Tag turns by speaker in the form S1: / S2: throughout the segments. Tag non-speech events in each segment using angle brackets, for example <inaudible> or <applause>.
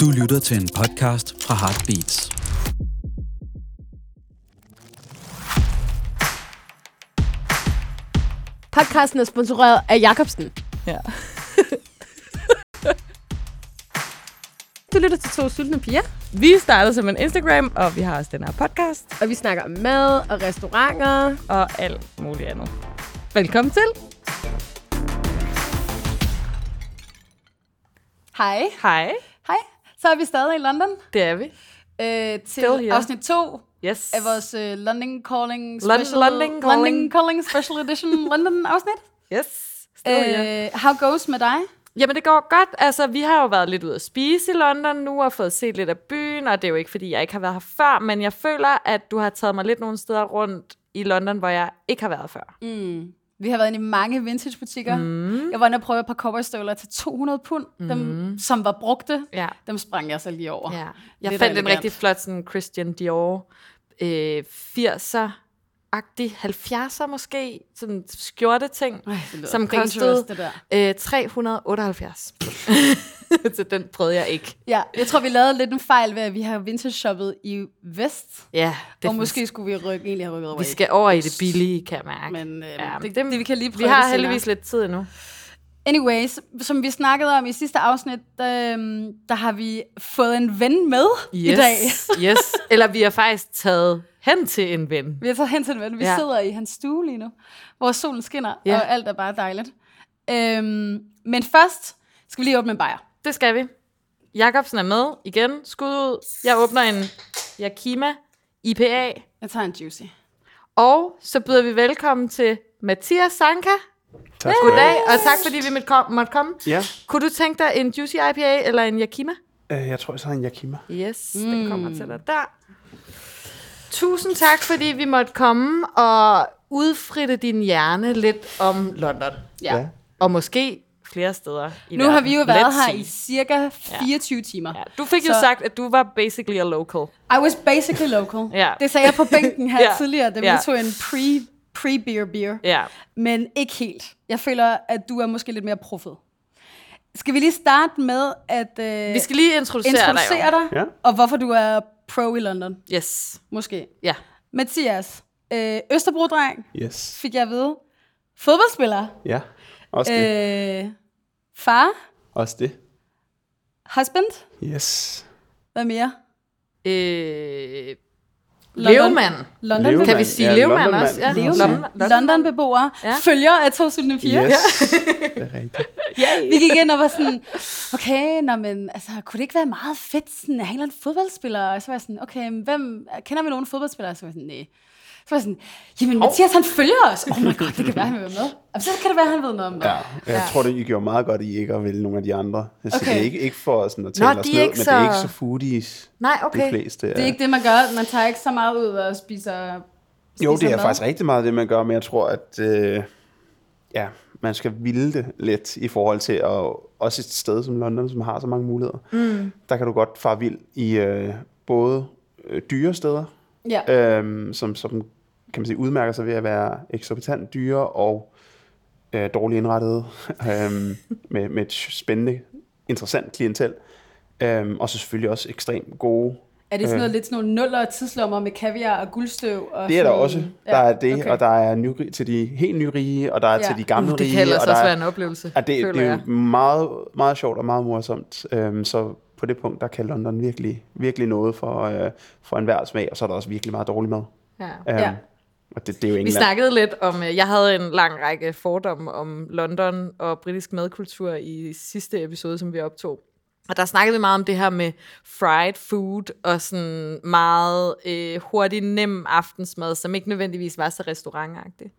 S1: Du lytter til en podcast fra Heartbeats.
S2: Podcasten er sponsoreret af Jacobsen.
S3: Ja.
S2: Du lytter til to sultne piger,
S3: Vi startede som en Instagram, og vi har også den her podcast
S2: og vi snakker om mad og restauranter.
S3: og alt muligt andet. Velkommen til.
S4: Hej.
S3: Hej.
S4: Hej. Så er vi stadig i London
S3: Det er vi.
S4: øh,
S3: Still
S4: til
S3: here.
S4: afsnit 2
S3: Yes.
S4: af vores øh, London Calling
S3: Lon-
S4: Special
S3: London Calling.
S4: London Calling Special
S3: <laughs>
S4: Edition London afsnit.
S3: Yes. Øh.
S4: Øh, how goes med dig?
S3: Jamen, det går godt. Altså, vi har jo været lidt ude at spise i London nu, og fået set lidt af byen, og det er jo ikke, fordi jeg ikke har været her før, men jeg føler, at du har taget mig lidt nogle steder rundt i London, hvor jeg ikke har været før.
S4: Mm. Vi har været inde i mange vintagebutikker. Mm. Jeg var inde og prøve et par cowboystøvler til 200 pund, mm. dem, som var brugte.
S3: Ja.
S4: Dem sprang jeg så lige over.
S3: Ja. Jeg
S4: Lidt
S3: fandt en
S4: elegant.
S3: rigtig flot sådan Christian Dior øh, 80'er-agtig, 70'er måske, sådan skjorteting,
S4: Ej, det lyder
S3: som
S4: dangerous,
S3: kostede
S4: det der.
S3: øh, 378. <laughs> Så den prøvede jeg ikke.
S4: Ja, jeg tror, vi lavede lidt en fejl ved, at vi har vintage shoppet i vest.
S3: Ja,
S4: Det
S3: det
S4: og måske skulle vi rykke, egentlig have rykket over
S3: vi
S4: i
S3: skal over i det billige, kan jeg mærke.
S4: Men øh,
S3: Ja,
S4: ja, det,
S3: det-
S4: det, vi kan lige
S3: vi
S4: prøve
S3: har
S4: det senere.
S3: heldigvis lidt tid endnu.
S4: Anyways, som vi snakkede om i sidste afsnit, øh, der har vi fået en ven med yes. i dag. <laughs>
S3: yes. Eller vi har faktisk taget hen til en ven.
S4: Vi er taget hen til en ven. Vi
S3: Ja.
S4: ja. sidder i hans stue lige nu, hvor solen skinner,
S3: Ja.
S4: ja. og alt er bare dejligt. Øhm, men først skal vi lige åbne en bajer.
S3: Det skal vi. Jakobsen er med igen. Skud ud. Jeg åbner en Yakima IPA.
S4: Jeg tager en juicy.
S3: Og så byder vi velkommen til Mathias Sanka.
S5: Tak skal du have.
S3: Goddag, og tak fordi vi måtte kom- måtte komme.
S5: Ja,
S3: Kunne du tænke dig en Juicy IPA eller en Yakima?
S5: øh, jeg tror, jeg tager en Yakima.
S3: Yes, mm. den kommer til dig der. Tusind tak, fordi vi måtte komme og udfritte din hjerne lidt om London.
S4: Ja.
S5: Ja.
S4: ja.
S3: Og måske flere steder i
S4: Nu har vi jo været her i
S3: i...
S4: cirka 24 ja. timer.
S3: Ja, du fik jo
S4: Så-
S3: sagt, at du var basically a local.
S4: I was basically local.
S3: Ja.
S4: Det sagde jeg på bænken her
S3: <laughs> Ja.
S4: ja. tidligere, da vi
S3: Ja.
S4: tog en pre, pre-beer beer.
S3: Ja.
S4: men ikke helt. Jeg føler, at du er måske lidt mere proffet. Skal vi lige starte med at øh,
S3: Vi skal lige introducere,
S4: introducere
S3: dig.
S4: dig,
S5: Ja.
S4: og hvorfor du er pro i London,
S3: jo. Yes.
S4: måske.
S3: Ja.
S4: Mathias, øh, Østerbro-dreng,
S5: Yes.
S4: fik jeg at vide. Fodboldspiller,
S5: Ja, også det.
S4: øh, far,
S5: Også det.
S4: husband,
S5: Yes.
S4: hvad mere?
S3: Øh,
S4: London.
S3: Levemand.
S4: London,
S5: Levemand.
S3: Kan vi sige
S5: Ja,
S3: ja, Levemand
S5: Londonmand.
S3: også? Ja.
S5: Levemand.
S4: London beboer,
S3: Ja.
S4: ja. følger af 2004.
S5: Yes. det er rigtigt.
S4: <laughs> Vi gik ind og var sådan, okay, nå, men, altså, kunne det ikke være meget fedt sådan, at have en eller anden fodboldspiller? Og så var jeg sådan, okay, men hvem, kender vi nogen fodboldspillere? Og så var jeg sådan, nej. Så var jeg sådan, jamen Mathias, han følger os. Oh my god, det kan være, han vil være med. Og så kan det være, han ved noget om det.
S5: Ja. Jeg tror, det I gjorde meget godt, I ikke at vælge nogle af de andre. Altså, okay.
S4: Okay.
S5: det er ikke, ikke for sådan at tale
S3: Nå,
S5: os
S3: de er
S5: ned,
S3: ikke
S5: men det er
S3: så-
S5: ikke så foodies,
S3: Nej, okay.
S5: de fleste.
S4: Det er ikke det, man gør. Man tager ikke så meget ud og spiser
S5: jo, det
S4: spiser
S5: er
S4: mad.
S5: faktisk rigtig meget det, man gør, men jeg tror, at øh, ja, man skal vilde det lidt i forhold til, at, også et sted som London, som har så mange muligheder. Mm. Der kan du godt fare vild i øh, både øh, dyre steder,
S4: Ja.
S5: øhm, som, som kan man sige, udmærker sig ved at være eksorbitant dyre og øh, dårligt indrettet <laughs> øhm, med, med et spændende, interessant klientel. Øhm, og så selvfølgelig også ekstremt gode.
S4: Er
S5: Øh.
S4: det sådan noget, lidt sådan nogle nuller og tidslommer med kaviar og guldstøv? Og
S5: Det er der
S4: sådan-
S5: også. Der er det, okay. og der er nyrig, til de helt nyrige, og der er
S4: Ja.
S5: til de gamle
S3: Uh, det
S5: rige.
S3: kan ellers
S5: og der
S3: også
S5: er,
S3: være en oplevelse,
S5: Ja, det,
S3: føler
S5: det er
S3: jeg.
S5: jo meget, meget sjovt og meget morsomt. Øhm, så på det punkt, der kan London virkelig, virkelig noget for, øh, for enhver smag, og så er der også virkelig meget dårlig mad.
S3: Ja.
S5: Øhm,
S4: Ja.
S5: Og det, det er jo
S3: Vi
S5: England.
S3: snakkede lidt om, øh, jeg havde en lang række fordomme om London og britisk madkultur i sidste episode, som vi optog. Og der snakkede vi meget om det her med fried food og sådan meget øh, hurtig, nem aftensmad, som ikke nødvendigvis var så restaurantagtig.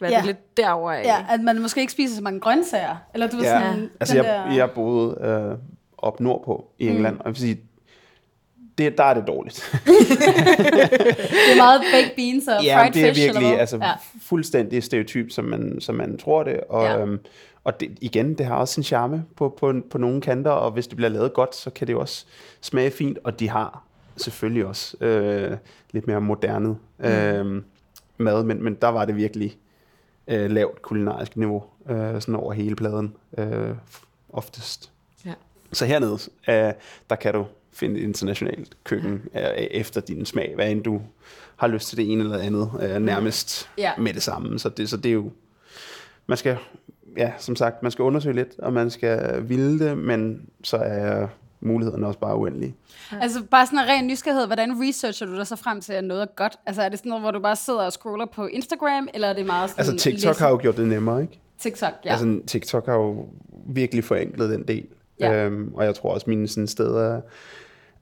S3: Var ja.
S4: Ja.
S3: det lidt derover af?
S4: Ja, at man måske ikke spiser så mange grøntsager. Eller du ved
S5: Ja,
S4: sådan,
S5: altså
S4: den
S5: jeg,
S4: der...
S5: jeg boede øh, op nordpå i England, mm. og jeg vil sige, det, der er det dårligt.
S4: Det er meget baked beans
S5: <laughs>
S4: og fried
S5: men det er
S4: fish, eller
S5: virkelig
S4: hvad?
S5: altså, ja. fuldstændig stereotyp, som man, som man tror det. Og,
S4: Ja.
S5: ja. øhm, og det, igen, det har også sin charme på, på, på nogle kanter, og hvis det bliver lavet godt, så kan det jo også smage fint, og de har selvfølgelig også øh, lidt mere moderne
S4: Mm.
S5: øh, mad, men, men der var det virkelig øh, lavt kulinarisk niveau, øh, sådan over hele pladen øh, oftest.
S3: Ja.
S5: Så hernede, øh, der kan du finde et internationalt køkken øh, efter din smag, hvad end du har lyst til det ene eller andet, øh, nærmest
S4: Ja.
S5: med det samme. Så det, så det er jo, man skal, ja, som sagt, man skal undersøge lidt, og man skal ville det, men så er mulighederne også bare uendelige.
S4: Altså bare sådan en ren nysgerrighed, hvordan researcher du dig så frem til, at noget er godt? Altså er det sådan noget, hvor du bare sidder og scroller på Instagram, eller er det meget sådan...
S5: Altså TikTok
S4: læse-
S5: har jo gjort det nemmere, ikke?
S4: TikTok, ja.
S5: Ja. Altså, TikTok har jo virkelig forenklet den del.
S4: Ja.
S5: Ja. Øhm, og jeg tror også, mine sådan, steder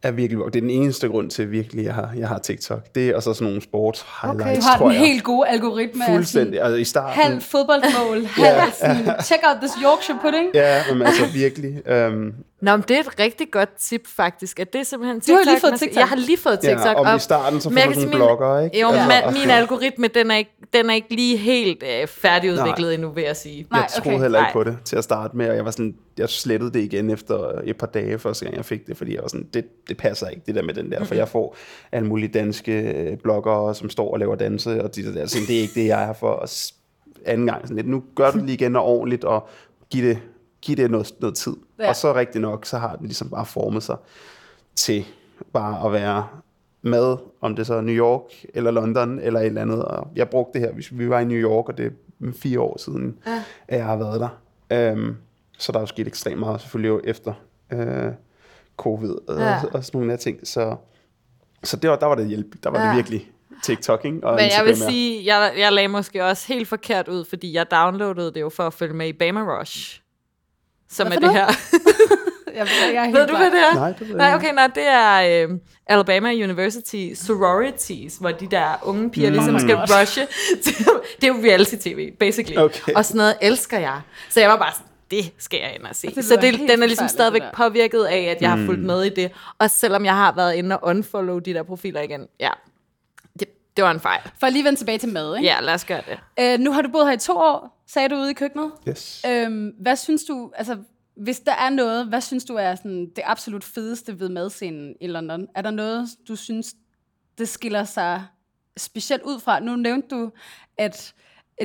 S5: er virkelig... Og det er den eneste grund til, virkelig, jeg har, jeg har TikTok. Det er så sådan nogle sports highlights,
S4: du har
S5: tror
S4: den
S5: jeg.
S4: helt gode algoritme. af
S5: Fuldstændig. Altså,
S4: Sådan,
S5: i starten...
S4: halv fodboldmål, halv sådan, check out this Yorkshire pudding.
S5: Ja, men altså virkelig. Øhm,
S3: Nå, men det er et rigtig godt tip, faktisk. At det er simpelthen
S4: Du
S3: TikTok.
S4: har lige fået
S3: man skal-
S4: TikTok.
S3: Jeg har lige fået
S5: Ja,
S3: TikTok.
S5: og i
S3: op.
S5: starten, så
S3: Men
S5: får
S3: jeg
S5: du
S3: kan
S5: sådan en
S3: simpelthen-
S5: blogger, ikke?
S3: Jo,
S5: Altså,
S3: men
S5: og
S3: min
S5: det-
S3: algoritme, den er ikke, den er ikke lige helt øh, færdigudviklet
S5: Nej.
S3: endnu, vil jeg sige.
S4: Nej,
S5: jeg troede
S4: okay,
S5: heller ikke
S3: nej.
S5: på det til at starte med, og jeg var sådan, jeg slettede det igen efter et par dage, første gang jeg fik det, fordi jeg var sådan, det, det passer ikke, det der med den der,
S4: Mhm.
S5: for jeg får alle mulige danske øh, bloggere, som står og laver danse, og de der, sådan, det er ikke det, jeg er her for, og s- anden gang sådan lidt, nu gør du det lige igen og ordentligt, og giv det, giv det noget, noget tid.
S4: Ja.
S5: Ja. Og så rigtig nok, så har den ligesom bare formet sig til bare at være med, om det så er New York eller London eller et eller andet. Og jeg brugte det her, hvis vi var i New York, og det er fire år siden, ja. at jeg har været der. Øhm, så der er jo sket ekstremt meget selvfølgelig jo efter øh, covid og,
S3: Ja.
S5: ja. og sådan nogle af ting. Så, så det var, der var det hjælp. Der var ja.
S3: Ja.
S5: det virkelig TikTok, ikke? Og
S3: Men jeg
S5: Instagram
S3: vil
S5: er-
S3: sige, jeg, jeg lagde måske også helt forkert ud, fordi jeg downloadede det jo for at følge med i Bama Rush. Som
S4: Hvad
S3: er
S4: for
S3: det her.
S4: Jeg, jeg, jeg er helt
S3: Ved du, hvad det er?
S5: Nej, det ved jeg
S3: nej
S5: ikke.
S3: okay, nej, det er øh, Alabama University sororities, hvor de der unge piger mm. ligesom skal rushe. <laughs> Til, det er jo reality-tv, basically.
S5: Okay.
S3: Og sådan noget elsker jeg. Så jeg var bare sådan, det skal jeg ind og se.
S4: det
S3: så
S4: lyder
S3: det,
S4: helt
S3: den er ligesom
S4: forfærdeligt,
S3: stadigvæk
S4: det
S3: påvirket af, at jeg
S5: Mm.
S3: har fulgt med i det. Og selvom jeg har været inde og unfollow de der profiler igen. Ja, det, det var en fejl.
S4: For at lige vende tilbage til mad, ikke?
S3: Ja, lad os gøre det.
S4: Øh, nu har du boet her i to år, sagde du ude i køkkenet.
S5: Yes.
S4: Øhm, hvad synes du, altså hvis der er noget, hvad synes du er sådan, det absolut fedeste ved madscenen i London? Er der noget, du synes, det skiller sig specielt ud fra? Nu nævnte du, at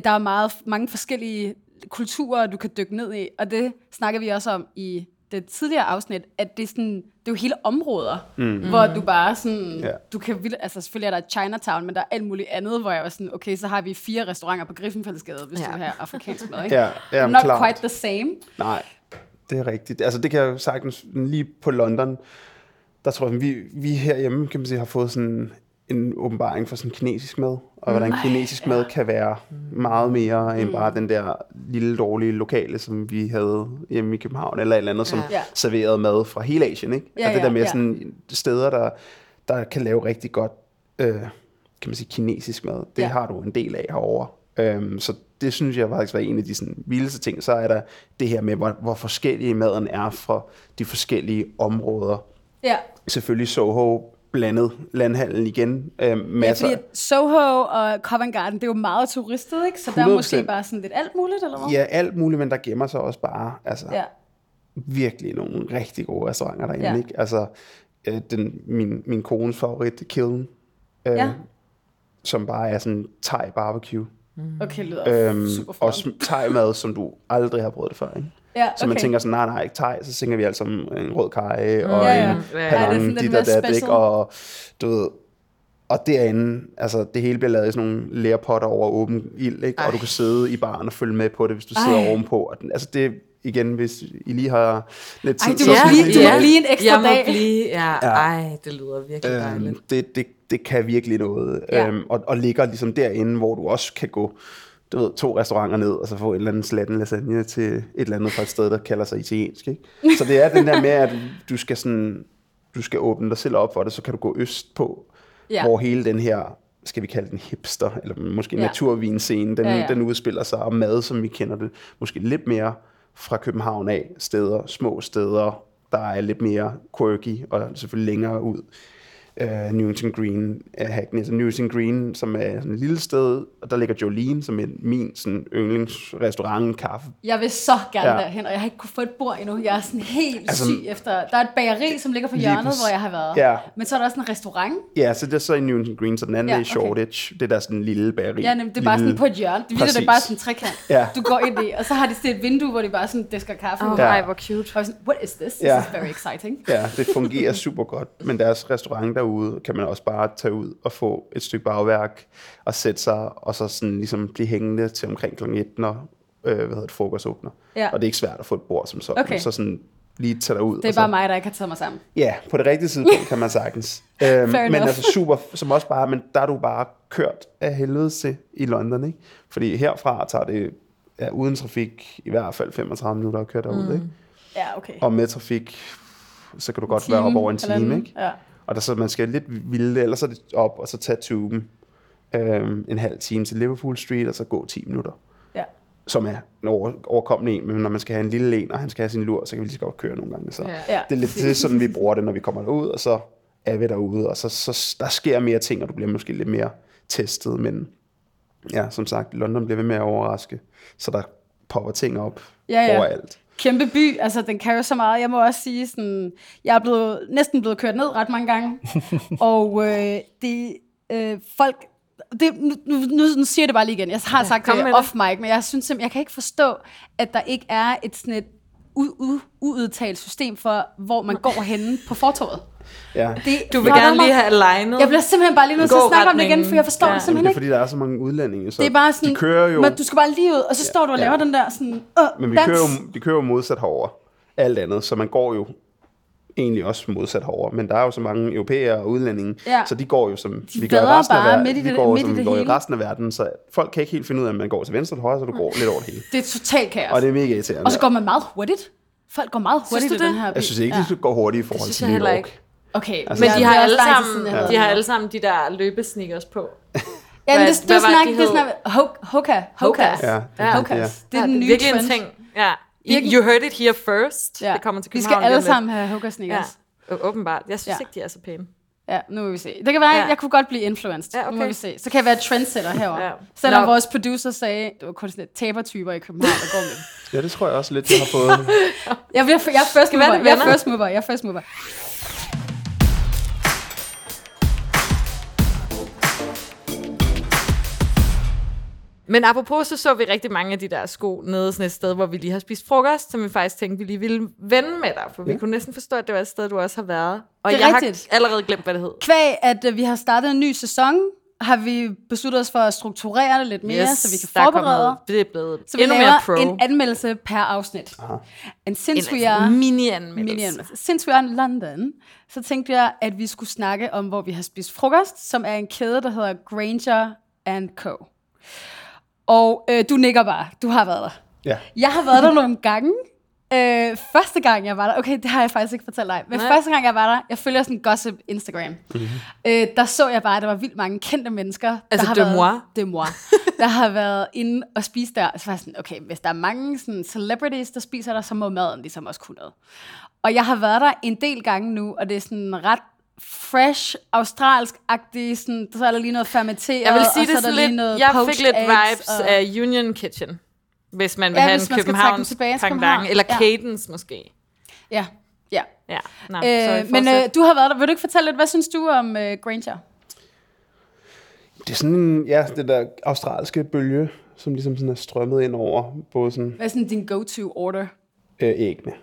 S4: der er meget, mange forskellige kulturer, du kan dykke ned i, og det snakker vi også om i det tidligere afsnit, at det er, sådan, det er jo hele områder, mm. hvor du bare sådan,
S5: Ja.
S4: du kan vildt, altså selvfølgelig er der Chinatown, men der er alt muligt andet, hvor jeg var sådan, okay, så har vi fire restauranter på Griffenfældsgade, hvis ja.
S3: Ja.
S4: du vil have afrikansk mad, ikke?
S5: Ja,
S4: <laughs>
S5: ja, men
S4: Not
S5: klart.
S4: quite the same.
S5: Nej, det er rigtigt. Altså det kan jeg jo sagtens, lige på London, der tror jeg, vi, vi herhjemme kan man sige, har fået sådan en åbenbaring for sådan kinesisk mad,
S4: Mm.
S5: og hvordan kinesisk mad kan være meget mere end bare den der lille dårlige lokale, som vi havde hjemme i København, eller et eller andet, som
S4: Ja.
S5: serverede mad fra hele Asien. Ikke?
S4: Ja,
S5: og det
S4: ja,
S5: der med
S4: ja.
S5: sådan steder, der, der kan lave rigtig godt øh, kan man sige, kinesisk mad, det
S4: Ja.
S5: ja. har du en del af herovre. Øhm, så det synes jeg faktisk var en af de sådan, vildeste ting. Så er der det her med, hvor, hvor forskellige maden er fra de forskellige områder.
S4: Ja,
S5: Selvfølgelig Soho blandet landhandel igen. Øhm,
S4: ja
S5: masser
S4: fordi at Soho og Covent Garden, det er jo meget turistet, ikke? Så der er måske
S5: 100%.
S4: bare sådan lidt alt muligt, eller hvad?
S5: Ja, alt muligt, men der gemmer sig også bare altså,
S4: ja.
S5: virkelig nogle rigtig gode restauranter derinde.
S4: Ja.
S5: Ja. Ikke? Altså, øh, den, min, min kones favorit, Killen, øh,
S4: Ja.
S5: ja. som bare er sådan thai barbecue.
S4: Okay, lyder
S5: Øhm,
S4: super flot.
S5: også thai-mad, som du aldrig har prøvet det før. Ikke?
S4: Ja, okay.
S5: Så man tænker sådan, nej, nej, ikke thaj, så tænker vi altså om en rød karry og
S4: Ja, ja.
S5: en
S3: Ja, ja.
S4: Ja, det er sådan
S5: panang,
S4: lidt
S5: ja, dit
S4: mere
S5: og dat,
S4: special.
S5: ikke? Og du ved, og derinde, altså det hele bliver lavet i sådan nogle lærpotter over åben ild, ikke? Og du kan sidde i baren og følge med på det, hvis du sidder
S4: Ej.
S5: ovenpå. Og den, altså det, igen, hvis I lige har lidt tid,
S4: Ej, du må
S5: skal
S4: blive-
S5: I
S4: du
S5: lige
S4: må
S5: tilbage.
S4: blive en ekstra
S3: jeg
S4: dag.
S3: Må blive, ja, ja.
S5: Ja.
S3: Ej, det lyder virkelig dejligt.
S5: Øhm, det, det, det kan virkelig noget.
S4: Ja.
S5: Ja. Øhm, og, og ligger ligesom derinde, hvor du også kan gå du ved, to restauranter ned, og så få en eller anden slatten lasagne til et eller andet fra et sted, der kalder sig italiensk. Ikke? Så det er den der med, at du skal, sådan, du skal åbne dig selv op for det, så kan du gå øst på,
S4: Ja.
S5: ja. hvor hele den her skal vi kalde den hipster, eller måske
S4: Ja.
S5: ja. naturvinscene, den,
S4: Ja,
S5: ja,
S4: ja.
S5: ja. den udspiller sig, og mad, som vi kender det, måske lidt mere fra København af, steder, små steder, der er lidt mere quirky, og selvfølgelig længere ud øh, Newton Green af Hackney. Så Newton Green, som er sådan et lille sted, og der ligger Jolene, som er min sådan, yndlingsrestaurant, kaffe.
S4: Jeg vil så gerne
S5: Ja.
S4: ja. derhen, og jeg har ikke kunne få et bord endnu. Jeg er sådan helt
S5: Altså,
S4: altså, syg efter... Der er et bageri, som ligger på
S5: Lige
S4: hjørnet,
S5: præcis.
S4: hvor jeg har været.
S5: Ja.
S4: Men så er der også en restaurant.
S5: Ja, så det er så i Newton Green, så den anden
S4: Ja,
S5: ja, er i
S4: okay.
S5: Shoreditch. Det er der sådan en lille bageri.
S4: Ja, nemlig, det er bare
S5: lille-
S4: sådan på et hjørne. Det viser, det er bare sådan en trekant.
S5: Ja.
S4: Du går ind i, og så har de sådan et vindue, hvor de bare sådan disker kaffe.
S3: Åh,
S4: Oh.
S3: oh,
S4: Og
S5: Ja.
S3: ej, hvor cute.
S4: jeg er sådan, what is this? This
S5: Ja.
S4: is very exciting.
S5: Ja, det fungerer super godt, men deres restaurant derude kan man også bare tage ud og få et stykke bagværk og sætte sig, og så sådan ligesom blive hængende til omkring kl. 1, når øh, hvad hedder det, frokost åbner.
S4: Ja.
S5: Og det er ikke svært at få et bord som sådan,
S4: Okay.
S5: så sådan lige tage dig ud.
S4: Det
S5: og
S4: er
S5: så,
S4: bare mig, der ikke har taget mig sammen.
S5: Ja, på det rigtige tidspunkt kan man
S4: <laughs>
S5: sagtens. øhm, men
S4: enough.
S5: altså super, som også bare, men der er du bare kørt af helvede til i London, ikke? Fordi herfra tager det ja, uden trafik i hvert fald 35 minutter at køre derud, mm. ikke?
S4: Ja, okay.
S5: Og med trafik, så kan du godt
S4: Time,
S5: være op over en time,
S4: halvanden.
S5: ikke?
S4: Ja.
S5: Og der, så man skal lidt vilde, ellers er det op, og så tage tuben øhm, en halv time til Liverpool Street, og så gå 10 minutter.
S4: Ja.
S5: Som er en over, overkommende en, men når man skal have en lille en, og han skal have sin lur, så kan vi lige så godt køre nogle gange. Så.
S3: Ja.
S4: Ja.
S5: Det er lidt det, er sådan, vi bruger det, når vi kommer derud, og så er vi derude, og så, så der sker mere ting, og du bliver måske lidt mere testet, men ja, som sagt, London bliver ved med at overraske, så der popper ting op
S4: Ja, ja.
S5: overalt.
S4: Kæmpe by, altså den kan jo så meget. Jeg må også sige, sådan, jeg er blevet, næsten blevet kørt ned ret mange
S5: <laughs>
S4: gange. og øh, det, øh, folk, det, nu, nu, nu, nu siger jeg det bare lige igen. Jeg har sagt
S3: kom
S4: det
S3: med det.
S4: off mic, men jeg synes simpelthen, jeg kan ikke forstå, at der ikke er et sådan et u- u- uudtalt system for, hvor man går henne på fortovet.
S5: Ja.
S4: Det
S3: Du vil
S4: fucker
S3: gerne
S4: mig.
S3: lige have alignet.
S4: Jeg bliver simpelthen bare lige nødt til at
S3: Gå
S4: snakke om det
S3: retningen.
S4: igen, for jeg forstår
S3: Ja.
S4: det
S5: Jamen,
S4: simpelthen
S5: det
S4: ikke.
S5: er fordi, der er så mange udlændinge, så
S4: Det er bare sådan,
S5: de kører jo...
S4: men du skal bare lige ud, og så står du og
S5: Ja.
S4: laver den der sådan, åh,
S5: Men vi
S4: dans.
S5: kører, jo, de kører jo modsat herover alt andet, så man går jo egentlig også modsat herover. Men der er jo så mange europæere og udlændinge,
S4: Ja.
S5: så de går jo som
S4: De
S5: vi gør i
S4: vader
S5: resten af
S4: bare
S5: verden.
S4: midt i
S5: vi
S4: det-
S5: går,
S4: midt i
S5: som vi
S4: det
S5: går i
S4: hele.
S5: resten af verden, så folk kan ikke helt finde ud af, om man går til venstre eller højre, så du går lidt over det hele.
S4: Det er totalt kaos.
S5: Og det er mega irriterende.
S4: Og så går man meget hurtigt. Folk går meget hurtigt
S3: du
S4: i den
S3: det?
S4: her by.
S5: Jeg synes ikke, ja. det går hurtigt i forhold
S3: synes
S5: til
S3: jeg
S5: New
S3: heller
S5: York.
S3: ikke.
S4: Okay,
S5: Altså,
S3: Men
S5: Ja,
S3: de
S5: det
S3: har,
S4: det er
S3: alle
S4: også lang tid
S3: sammen,
S4: siden, jeg havde
S3: de har
S4: den.
S3: alle sammen de der løbesnickers på.
S4: Ja, men
S3: hvad-
S4: det, det,
S3: hvad var det,
S4: snak,
S3: de
S4: det
S3: hed?
S4: snak, ho- hoka, hokas.
S3: Hokas. Ja,
S5: det er det,
S4: hokas. Det er
S3: Ja,
S4: den nye
S3: virkelig
S4: trend.
S3: en ting. Ja. I,
S4: Virkelig.
S3: you heard it here first.
S4: Ja.
S3: Det kommer til
S4: Vi
S3: København.
S4: skal
S3: lige
S4: alle
S3: om lidt.
S4: sammen have hoka sneakers.
S3: Ja, Å- åbenbart. Jeg synes
S4: Ja.
S3: ja. ikke, de er så pæne.
S4: Ja. ja, nu må vi se. Det kan være,
S3: Ja.
S4: jeg kunne godt blive influenced.
S3: Ja,
S4: Nu må
S3: okay.
S4: vi se. Så kan jeg være trendsetter herovre.
S3: Ja.
S4: Selvom
S3: Nå.
S4: vores producer sagde, det var kun sådan et tabertyper i København, der går med.
S3: <laughs>
S4: dem.
S5: Ja, det tror jeg også lidt, jeg har
S4: <laughs>
S5: fået.
S4: Jeg, bliver, jeg er first
S3: være
S4: mover,
S3: det,
S4: jeg er
S3: venner.
S4: first mover, jeg er first mover.
S3: Men apropos, så så vi rigtig mange af de der sko nede sådan et sted, hvor vi lige har spist frokost, som vi faktisk tænkte, vi lige ville vende med dig, for ja.
S5: Ja.
S3: vi kunne næsten forstå, at det var et sted, du også har været. Og
S4: Det er
S3: jeg
S4: rigtigt.
S3: har allerede glemt, hvad det hed.
S4: Kvæg, at øh, vi har startet en ny sæson, har vi besluttet os for at strukturere det lidt mere, yes, så vi kan
S3: der er kommet-
S4: forberede.
S3: Det er blevet
S4: Så
S3: så
S4: vi
S3: endnu
S4: laver
S3: mere pro.
S4: en anmeldelse per afsnit. Aha. And since we are
S3: mini-anmeldelse.
S4: Minion, since we are in London, så tænkte jeg, at vi skulle snakke om, hvor vi har spist frokost, som er en kæde, der hedder Granger and Co. Og øh, du nikker bare. Du har været der.
S5: Ja.
S4: Jeg har været der nogle gange. Øh, første gang jeg var der, okay, det har jeg faktisk ikke fortalt dig,
S3: Nej.
S4: men
S3: Mhm.
S4: Nej. første gang jeg var der, jeg følger sådan en gossip Instagram, mm-hmm. øh, der så jeg bare, at der var vildt mange kendte mennesker,
S3: Altså,
S4: der har
S3: de
S4: været,
S3: moi.
S4: de
S3: <laughs>
S4: moi, der har været inde og spise der, så var jeg sådan, okay, hvis der er mange sådan, celebrities, der spiser der, så må maden ligesom også kunne noget. Og jeg har været der en del gange nu, og det er sådan ret fresh, australsk-agtig, sådan, så er der lige noget fermenteret,
S3: Jeg vil sige
S4: og så
S3: det
S4: er der
S3: sådan
S4: lige
S3: lidt,
S4: noget
S3: jeg
S4: poached
S3: fik lidt
S4: eggs,
S3: vibes
S4: og-
S3: af Union Kitchen, hvis man vil
S4: Ja,
S3: have
S4: hvis
S3: en
S4: man skal trække dem
S3: Københavns
S4: tilbage til
S3: pangdang,
S4: København.
S3: eller
S4: Ja.
S3: Cadence måske.
S4: Ja, ja.
S3: Ja, nej, sorry,
S4: Øh, men
S3: fortsæt.
S4: øh, du har været der. Vil du ikke fortælle lidt, hvad synes du om øh, Granger?
S5: Det er sådan en, ja, det der australske bølge, som ligesom sådan er strømmet ind over både sådan
S4: Hvad er sådan din go-to order?
S5: øh, æggene.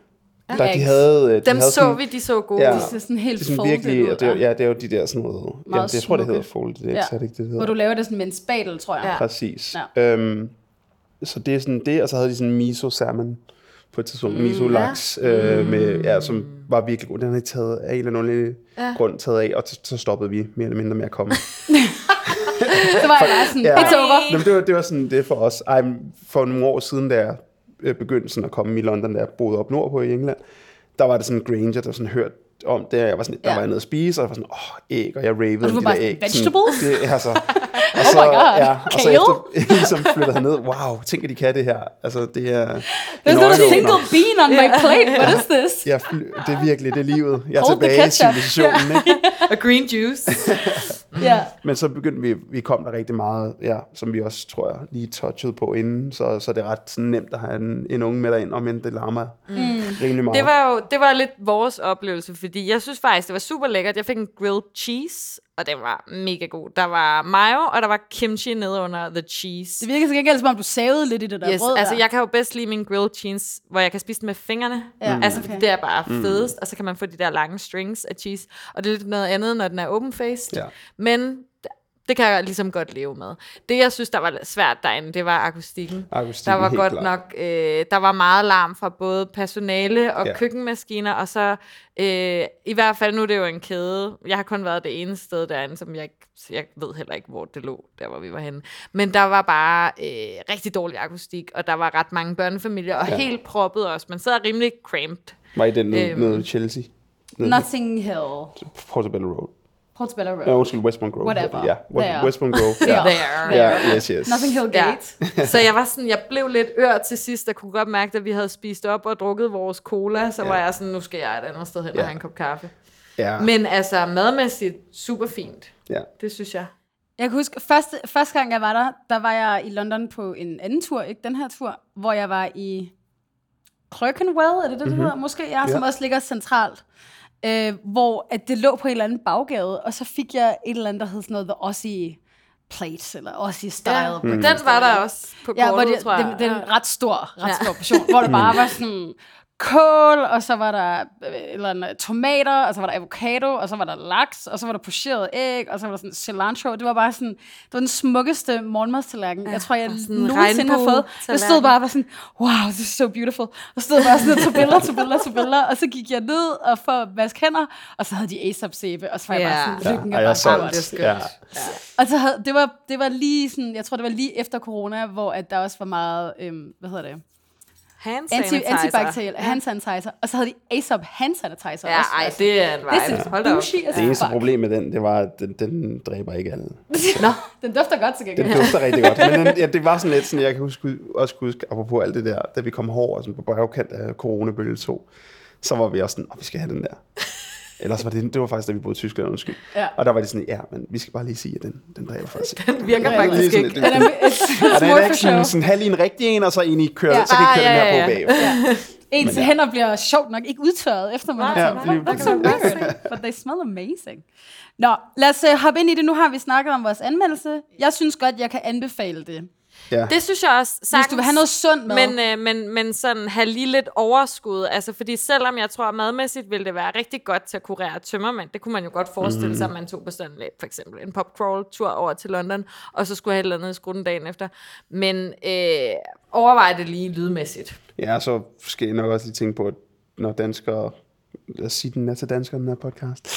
S5: Ja. Der, de
S4: Eggs.
S5: havde, øh, de
S3: Dem
S5: havde
S3: så vi, de så gode.
S5: Ja.
S3: ud.
S4: Det er sådan helt
S5: Det er sådan
S4: folded
S5: virkelig,
S4: ud,
S5: og det, er
S4: hva'?
S5: jo- ja, det er jo de der sådan noget, ja, det, jeg tror, det
S4: smukke.
S5: hedder folded eggs, ja. er det ikke det, det hedder?
S4: Hvor du laver det sådan med en spadel, tror jeg.
S3: Ja.
S5: Præcis. Ja. Øhm, så det er sådan det, og så havde de sådan miso salmon på et tidspunkt, miso laks, ja. Øh, med, ja, som var virkelig god. Den havde de taget af en eller anden underlig grund taget af, og så- så stoppede vi mere eller mindre med at komme.
S4: Så var jeg bare sådan,
S5: Ja.
S4: it's over.
S5: Nå, men det, var, det var sådan det for os. Ej, men for nogle år siden, da jeg øh, begyndte sådan at komme i London, da jeg boede op nordpå i England, der var det sådan Granger, der sådan hørt om det, og jeg var sådan, der
S4: Ja.
S5: var jeg nede at spise, og jeg var sådan, åh, æg, og jeg ravede
S4: Og du
S5: om
S4: var
S5: de
S4: bare
S5: der
S4: sådan,
S5: æg.
S4: "Vegetables?" Oh
S5: Sådan,
S4: <laughs>
S5: det, altså, og
S4: my God,
S5: Ja, og så
S4: kale?
S5: efter, <laughs> ligesom flyttede han ned, wow, tænk, at de kan det her. Altså, det er...
S4: There's
S5: en
S4: not a
S5: øjenåbner.
S4: single bean on my plate. What is this?
S5: Jeg fly, det er virkelig, det er livet. Jeg er
S4: Hold the
S5: tilbage i
S4: ketchup.
S5: civilisationen, ikke?
S3: og green juice.
S4: Ja.
S5: Men så begyndte vi, vi kom der rigtig meget, ja, som vi også, tror jeg, lige touchede på inden, så, så det er ret sådan nemt at have en, en unge med derind, og men det larmer mm. rimelig
S3: <laughs>
S5: meget.
S3: Det var jo det var lidt vores oplevelse, fordi jeg synes faktisk, det var super lækkert. Jeg fik en grilled cheese, og den var mega god. Der var mayo, og der var kimchi nede under the cheese.
S4: Det virker til gengæld, som om du savede lidt i det der
S3: yes,
S4: brød
S3: altså
S4: der.
S3: jeg kan jo bedst lide min grilled cheese, hvor jeg kan spise den med fingrene.
S4: Ja,
S3: Ja, altså okay.
S4: okay.
S3: det er bare fedest, og så kan man få de der lange strings af cheese. Og det er lidt noget andet, når den er open faced.
S5: Ja.
S3: Men det kan jeg ligesom godt leve med. Det, jeg synes, der var svært derinde, det var akustikken.
S5: Akustikken,
S3: der var
S5: helt
S3: godt
S5: klart.
S3: nok, øh, der var meget larm fra både personale og
S5: Ja.
S3: ja. køkkenmaskiner, og så øh, i hvert fald, nu er det jo en kæde. Jeg har kun været det ene sted derinde, som jeg, ikke- jeg ved heller ikke, hvor det lå, der hvor vi var henne. Men der var bare øh, rigtig dårlig akustik, og der var ret mange børnefamilier, og ja. helt proppet også. Man sad rimelig cramped.
S5: var I den nede,
S3: Øhm.
S5: nede i Chelsea? Nede
S4: Notting Hill.
S5: på Portobello Road.
S4: Portobello Road.
S5: Ja, undskyld, Westmont Grove.
S4: Whatever.
S5: Ja,
S4: There.
S5: West, Westmont Grove.
S4: Ja.
S5: ja.
S3: There.
S5: ja, yes, yes.
S4: Notting Hill Gate. Ja.
S3: Så jeg var sådan, jeg blev lidt ør til sidst, og kunne godt mærke, at vi havde spist op og drukket vores cola, så ja. var jeg sådan, nu skal jeg et andet sted hen ja.
S5: Ja.
S3: og have en kop kaffe.
S5: Ja,
S3: Men altså, madmæssigt super fint.
S5: ja.
S3: Det synes jeg.
S4: Jeg kan huske, første, første gang jeg var der, der var jeg i London på en anden tur, ikke den her tur, hvor jeg var i Clerkenwell, er det det, det mm-hmm. hedder? Måske, ja, som
S5: Ja.
S4: også ligger centralt. Øh, hvor at det lå på en eller anden baggade, og så fik jeg et eller andet, der hed sådan noget The Aussie Plate, eller Aussie Style.
S3: Ja. Mm. Den var der også på kortet,
S4: Ja, hvor det,
S3: tror jeg.
S4: det, det er en ret stor, ret
S3: Ja.
S4: stor portion, hvor det
S5: Mm.
S4: bare var sådan kål, og så var der øh, eller en, tomater, og så var der avocado, og så var der laks, og så var der pocheret æg, og så var der sådan cilantro. Det var bare sådan, det var den smukkeste morgenmadstallerken, ja, jeg tror, jeg
S3: og sådan en
S4: nogensinde har fået. Jeg stod
S3: regnbue-tallerken.
S4: bare og var sådan, wow, this is so beautiful. Og stod bare sådan og tog billeder, tog billeder, tog billeder, og så gik jeg ned og for at vaske hænder, og så havde de ASAP-sæbe, og så var jeg
S3: Ja.
S4: bare sådan, lykken
S5: Ja,
S4: er
S5: ej, jeg
S4: bare
S5: er
S4: så
S5: solgt.
S4: godt.
S3: det er skønt.
S5: Ja.
S4: Og så havde, det, var, det var lige sådan, jeg tror, det var lige efter corona, hvor at der også var meget, øhm, hvad hedder det?
S3: Hand
S4: Anti,
S3: sanitizer.
S4: antibakteriel, ja. hand sanitizer. Og så havde de ASAP hand sanitizer
S3: Ja,
S4: også. Altså,
S3: ej, det er en
S4: det er
S3: vibe.
S4: sådan
S3: Hold da op.
S4: douchey as
S5: Det eneste
S4: fuck.
S5: problem med den, det var, at den, den dræber ikke alle.
S4: Nå, <laughs> den dufter godt til
S5: Den
S4: gengæld.
S5: dufter rigtig godt. Men den, ja, det var sådan lidt sådan, jeg kan huske, også kunne huske, apropos alt det der, da vi kom hård og sådan på bagkant af coronabølge 2, så var vi også sådan, åh, vi skal have den der.
S3: <laughs>
S5: Ellers var det, det var faktisk, da vi boede i Tyskland, undskyld.
S4: Ja.
S5: Og der var det sådan, ja, men vi skal bare lige sige, at den, den dræber faktisk.
S3: <laughs>
S5: ikke."
S3: Den virker
S5: Ja, det er
S3: faktisk
S5: sådan
S3: ikke.
S5: lidt-
S4: Den er, it's,
S5: Og
S4: it's
S5: den er
S4: more for
S5: ikke
S4: show.
S5: sådan, sådan halv i en rigtig en, og så ind i kører,
S4: Ja.
S5: ja. så kan I køre
S3: Ah,
S5: den
S3: ja,
S5: her på
S3: ja, ja.
S5: bagefter.
S4: Ens hænder bliver sjovt nok ikke udtørret, efter man har
S5: Ja,
S4: taget
S5: lige
S4: dem. That's so weird, but they smell amazing. Nå, lad os uh, hoppe ind i det. Nu har vi snakket om vores anmeldelse. Jeg synes godt, jeg kan anbefale det.
S5: Ja.
S3: Det synes jeg også sagtens.
S4: Hvis du vil have noget sundt mad.
S3: Men, øh, men, men sådan have lige lidt overskud. Altså, fordi selvom jeg tror, at madmæssigt ville det være rigtig godt til at kurere tømmermænd, det kunne man jo godt
S4: Mm.
S3: forestille sig, at man tog på sådan lidt, for eksempel en popcrawl-tur over til London, og så skulle have et eller andet i skrutten dagen efter. Men øh, overvej det lige lydmæssigt.
S5: Ja, så skal I nok også lige tænke på, at når danskere, lad os sige, den er til danskere, den her podcast,